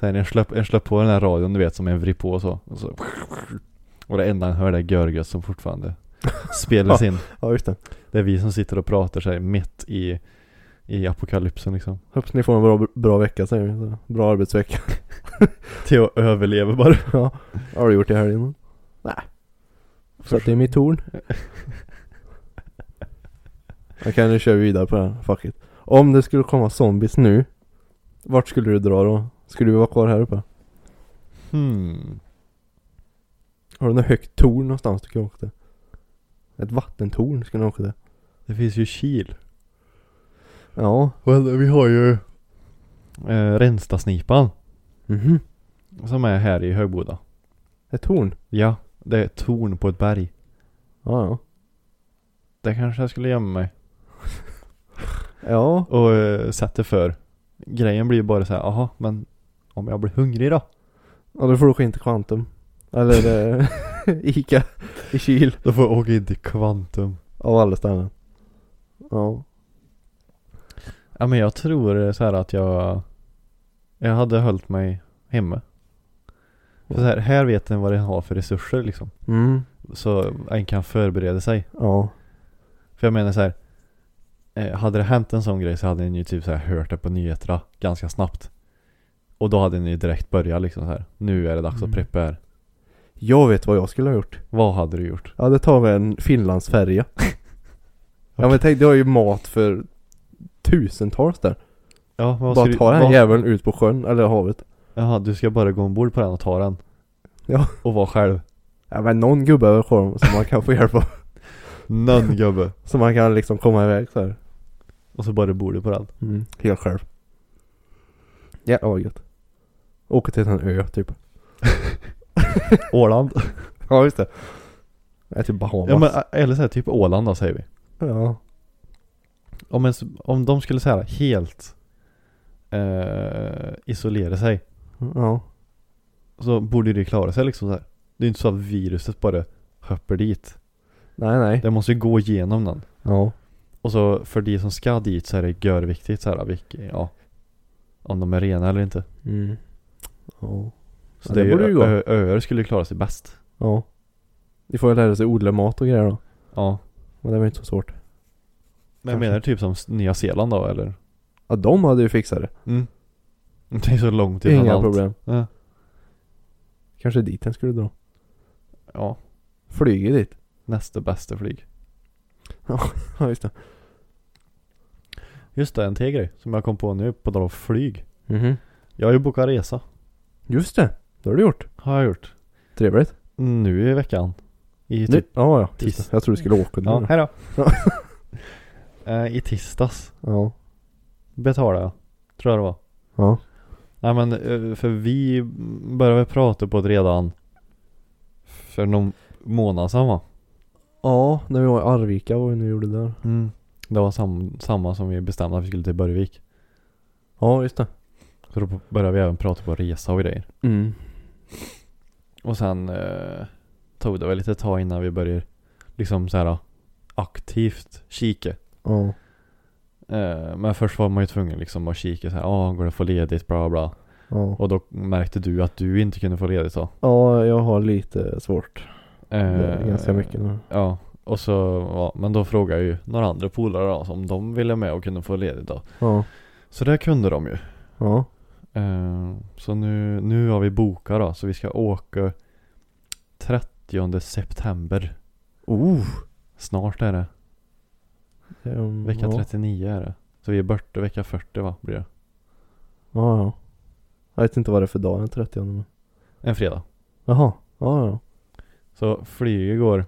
B: Sen jag släpp, jag släpp på den här radion du vet som jag vrid på och så. Och, så, och det enda han hör det är görgött som fortfarande spelas in.
A: Ja, just det.
B: Det är vi som sitter och pratar sig mitt i, i apokalypsen liksom.
A: Hoppas ni får en bra, bra vecka säger vi. Så, Bra arbetsvecka.
B: Theo överlever bara.
A: ja. Har du gjort det här innan? Nej. Satt i mitt torn. Okej, nu kör vi vidare på det här. Fuck it. Om det skulle komma zombies nu. Vart skulle du dra då? Skulle vi vara kvar här uppe?
B: Hmm.
A: Har du något högt torn någonstans du kan åka till? Ett vattentorn ska du åka till.
B: Det finns ju Kil.
A: Ja.
B: Well, vi har ju eh, Renstasnipan
A: Mhm.
B: som är här i Högboda.
A: Ett torn?
B: Ja, det är ett torn på ett berg.
A: Ja, ja.
B: Där kanske jag skulle gömma mig
A: Ja.
B: och eh, sätta för. Grejen blir ju bara så här, aha, men om jag blir hungrig då?
A: Ja, då får du åka in till Kvantum. Eller eh, Ica i Kil.
B: Då får jag åka in till Kvantum.
A: Av alla ställen. Ja.
B: Ja men jag tror eh, så här att jag Jag hade hållit mig hemma. För Så här, här vet en vad den har för resurser liksom.
A: Mm.
B: Så en kan förbereda sig.
A: Ja.
B: För jag menar så här. eh, Hade det hänt en sån grej så hade ni ju typ så här hört det på nyheterna ganska snabbt. Och då hade ni ju direkt börjat liksom så här. Nu är det dags
A: Mm.
B: att preppa här.
A: Jag vet vad jag skulle ha gjort.
B: Vad hade du gjort?
A: Jag hade tagit en Finlandsfärja. Ja men tänk, du har ju mat för tusentals där.
B: Ja, men vad
A: Bara
B: skulle-
A: ta den här
B: vad-
A: jäveln ut på sjön, eller havet.
B: Jaha, du ska bara gå ombord på den och ta den.
A: Ja.
B: Och vara själv.
A: Ja men någon gubbe över sjön som man kan få hjälp av.
B: Nån gubbe.
A: Så man kan liksom komma iväg så här.
B: Och så bara bor du på den.
A: Mm. Helt själv. Jävlar vad gött. Åka till en ö typ.
B: Åland.
A: Ja just det. Nej till Bahamas.
B: Ja, men, eh, eller så här, typ Åland då säger vi.
A: ja.
B: Om, en, om de skulle säga helt eh, isolera sig
A: ja.
B: så borde det klara sig liksom så här. Det är inte så att viruset bara hoppar dit.
A: Nej nej.
B: Det måste ju gå igenom den.
A: Ja.
B: Och så för de som ska dit så är det görviktigt så här, vilka, ja. Om de är rena eller inte.
A: Mm. Ja.
B: Så
A: Ja,
B: det,
A: det
B: är ju
A: borde ju gå.
B: ö- öar skulle klara sig bäst.
A: Ja. Ni får ju lära sig odla mat och grejer då.
B: Ja.
A: Men det var inte så svårt.
B: Men jag
A: Kanske.
B: menar typ som s- Nya Zeeland då eller?
A: Ja de hade ju fixat det.
B: Mm. Det är så långt ifrån
A: Inga
B: Typ allt.
A: problem.
B: Ja.
A: Kanske dit den skulle dra.
B: ja.
A: Flyger dit.
B: Nästa bästa flyg.
A: Ja just det.
B: Just det, en till grej som jag kom på nu på tal om flyg.
A: Mhm.
B: Jag har ju bokat resa.
A: Just det. Det har du gjort.
B: Har jag gjort.
A: Trevligt.
B: Nu i veckan. I
A: Nu.
B: typ,
A: Ja ja. Just
B: Tis-
A: det. Jag tror du skulle åka nu.
B: ja,
A: då.
B: hejdå. Eh, I tisdags
A: ja.
B: betalade jag. Tror jag det var.
A: Ja.
B: Nej men eh, för vi började väl prata på det redan för någon månad sedan va?
A: Ja, när vi var i Arvika vad vi nu gjorde där.
B: Det var sam, samma som vi bestämde att vi skulle till Börjevik.
A: Ja just det.
B: Så då började vi även prata på resa och grejer.
A: Mm.
B: Och sen eh, tog det väl lite tag innan vi började liksom så här aktivt kika.
A: Ja.
B: Eh, men först var man ju tvungen liksom att kika så här, ja går det att få ledigt bla bla.
A: Ja.
B: Och då märkte du att du inte kunde få ledigt då.
A: ja, jag har lite svårt. Det
B: Eh,
A: är Ganska mycket nu.
B: Ja, och så, ja, men då frågade jag ju några andra polare då, om de ville med och kunde få ledigt då.
A: Ja.
B: Så det kunde de ju.
A: Ja.
B: Eh, så nu, nu har vi bokat då, så vi ska åka 30 september.
A: Oh.
B: Snart är det.
A: Det är om-
B: Vecka
A: ja.
B: 39 är det. Så vi är borta vecka 40 va, blir det.
A: Ja, ja. Jag vet inte vad det är för dag den 30 men.
B: En fredag.
A: Jaha. Ja, ja.
B: Så flyget går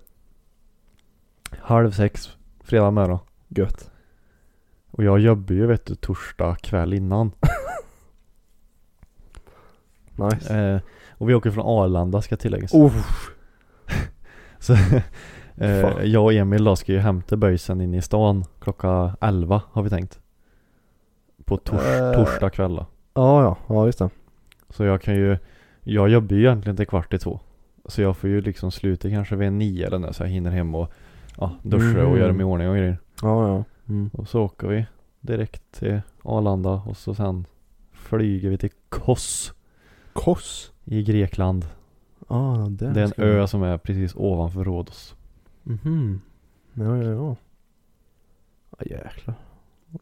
B: halv sex fredag morgon.
A: Gött.
B: Och jag jobbar ju vet du torsdag kväll innan.
A: Nice.
B: Eh, och vi åker från Arlanda ska tilläggas.
A: Oh,
B: Så, eh,
A: Fan.
B: jag och Emil då ska ju hämta böjsen inne i stan klockan 11 har vi tänkt. På tors
A: Eh.
B: torsdag kväll då.
A: ja, ja, ja just det.
B: Så jag kan ju, jag jobbar ju egentligen till kvart i två. Så jag får ju liksom sluta kanske vid nio eller nåt så jag hinner hem och ja, duscha och
A: Mhm.
B: göra mig i ordning och grejer.
A: Ja, ja. Mm.
B: Och så åker vi direkt till Arlanda och så sen flyger vi till Kos
A: Kos.
B: i Grekland.
A: Ja, ah, där
B: Det är
A: ska
B: en
A: vi.
B: ö som är precis ovanför Rhodos.
A: Mhm. Ja, ja, ja. Ja, jäklar.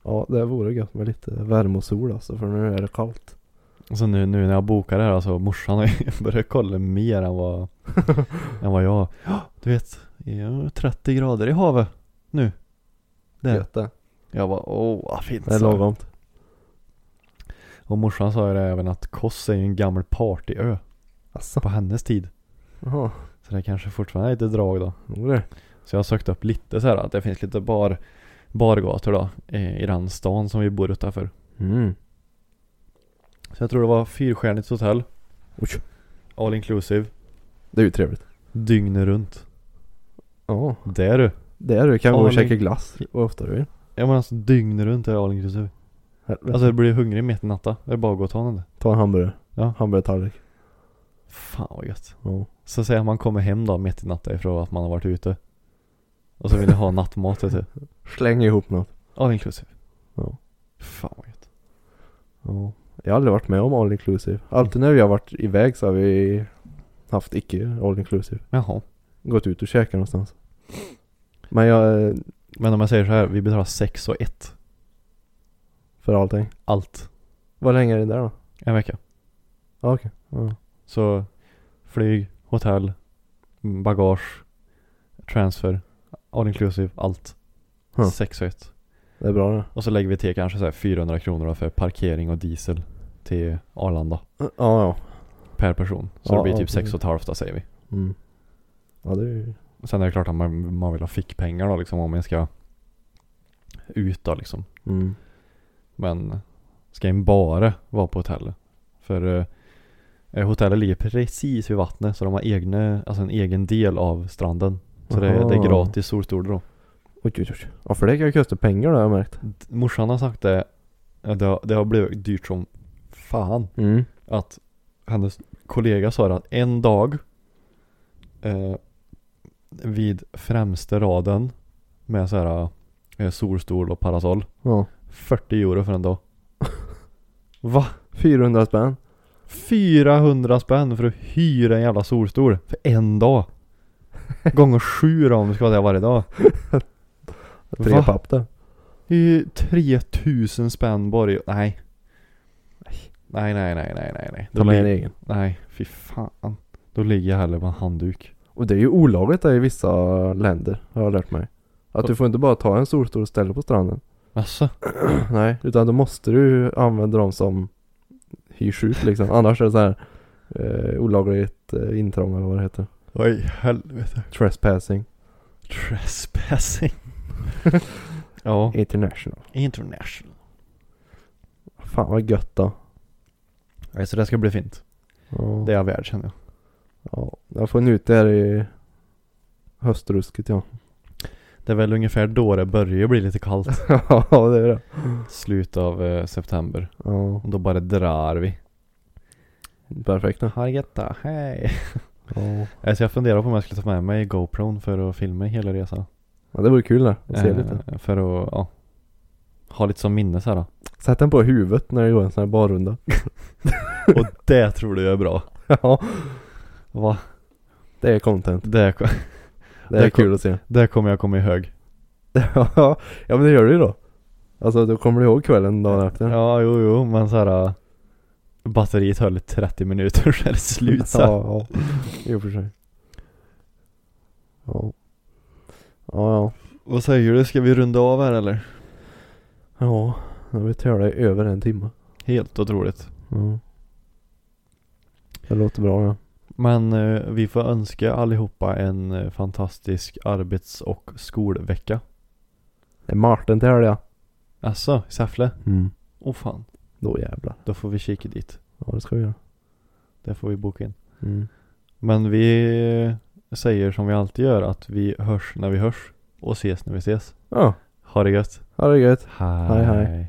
A: Ja, det vore gött med lite värme och sol alltså, för nu är det kallt.
B: Så nu, nu när jag bokar det här alltså, morsan har ju börjat kolla mer än vad, än vad jag Ja, Du vet, det är 30 grader i havet nu. Där.
A: Gött det. Alltså.
B: Jag bara åh vad fint.
A: Det är
B: sa jag.
A: lagom.
B: Och morsan sa ju det även att Kos är ju en gammal partyö
A: Asså.
B: på hennes tid.
A: Jaha.
B: Så det kanske fortfarande är lite drag då.
A: Jo det.
B: Så jag har sökt upp lite så här att det finns lite bar, bargator då eh, i den stan som vi bor utanför.
A: Mm.
B: Så jag tror det var fyrstjärnigt hotell,
A: Oj.
B: all inclusive,
A: Det är ju trevligt.
B: dygnet runt.
A: Ja.
B: Det är du.
A: Det är du. Kan
B: Ja,
A: gå och
B: men-
A: käka glass vad ofta du vill.
B: Ja men alltså dygnet runt är all inclusive.
A: Helvete.
B: Alltså jag blir hungrig mitt i natten. Det är bara att gå och ta den där.
A: Ta en hamburgare.
B: Ja.
A: Hamburgertallrik.
B: Fan vad gött.
A: Ja.
B: Så säg att man kommer hem då mitt i natten ifrån att man har varit ute. Och så vill jag ha nattmat vet du.
A: Släng ihop något.
B: All inclusive.
A: Ja.
B: Fan vad gött.
A: Ja. Jag har aldrig varit med om all inclusive. Alltid när vi har varit iväg så har vi haft icke all inclusive.
B: Jaha.
A: Gått ut och käkat någonstans. Men jag,
B: Men om jag säger så här, vi betalar 6 och 1.
A: för allting.
B: Allt.
A: Vad länge är det där då?
B: En vecka.
A: Ja, okej. Ja.
B: Så flyg, hotell, mm, bagage, transfer, all inclusive, allt.
A: Huh.
B: 6 och 1.
A: Det är bra det.
B: Och så lägger vi till kanske så här 400 kronor då för parkering och diesel till Arlanda
A: Ja, ja.
B: per person. Så
A: Ja,
B: det blir
A: ja,
B: typ 6
A: precis.
B: och ett halvt då säger vi.
A: Mm. Ja, det är ju...
B: Sen är det klart att man, man vill ha fickpengar då liksom om man ska ut då liksom.
A: Mm.
B: Men ska en bara vara på hotellet. För eh, hotellet ligger precis vid vattnet så de har egna, alltså en egen del av stranden. Så det, det
A: Aha.
B: är gratis solstolar då.
A: Oj, oj, oj. Ja, för det kan ju kosta pengar då har jag märkt.
B: D- Morsan har sagt det, ja, det har, det har blivit dyrt som fan.
A: Mm.
B: Att hennes kollega sa det att en dag eh, vid främsta raden med så här eh, solstol och parasoll.
A: Ja.
B: 40 euro för en dag. Va?
A: 400 spänn.
B: 400 spänn för att hyra en jävla solstol för en dag. Gånger sju då om vi ska ha det varje dag.
A: Tre
B: Va?
A: papp det.
B: Det är ju 3000 spänn bara i... Nej. Nej, nej, nej, nej, nej, nej.
A: Ta
B: Då
A: med en
B: lig-
A: egen.
B: nej, fy fan. Då ligger jag hellre med en handduk.
A: Och det är ju olagligt där i vissa länder har jag lärt mig. Att du får inte bara ta en stor stor ställe på stranden.
B: Alltså,
A: Nej, utan då måste du använda dem som hyrs ut liksom. Annars är det så här eh, olagligt eh, intrång eller vad det heter.
B: Vad i helvete.
A: Trespassing.
B: Trespassing. ja,
A: International.
B: international.
A: Fan vad gött då.
B: Nej, så det ska bli fint.
A: Ja.
B: Det är jag värd känner jag.
A: ja. Jag får ut det här i höstrusket ja.
B: Det är väl ungefär då det börjar bli lite kallt.
A: ja det är det.
B: Slut av eh, september.
A: Ja.
B: Och då bara drar vi.
A: Perfekt då.
B: Hargetta, hej!
A: Ja.
B: Alltså jag funderar på om jag skulle ta med mig GoPron för att filma hela resan.
A: ja det vore kul det. Att se
B: Eh,
A: lite.
B: För att, ja. Ha lite som minne så här. då.
A: Sätt den på huvudet när det går en sån här barrunda.
B: Och det tror du är bra.
A: ja.
B: Va?
A: Det är content.
B: Det, ko-
A: Det
B: Det
A: är
B: är
A: kul att se.
B: det kommer jag komma ihåg.
A: ja men det gör du ju då. Alltså då kommer du ihåg kvällen dagen efter.
B: Ja, jo, jo, men så här. eh, Batteriet höll i 30 minuter så är det slut så. här.
A: Ja, ja. I och för sig. Ja. Ja, ja.
B: Vad säger du? Ska vi runda av här eller?
A: Ja, nu har vi tävlat i över en timme.
B: Helt otroligt.
A: Ja. Det låter bra ja.
B: Men eh, vi får önska allihopa en eh, fantastisk arbets och skolvecka.
A: Det är Martin till helg ja.
B: Asså, i Säffle?
A: Mm.
B: Åh oh, fan.
A: Då jävlar.
B: Då får vi kika dit.
A: Ja det ska vi göra.
B: Det får vi boka in.
A: Mm.
B: Men vi säger som vi alltid gör att vi hörs när vi hörs och ses när vi ses.
A: Ja,
B: Ha det gött.
A: ha det gött.
B: Hej
A: hej.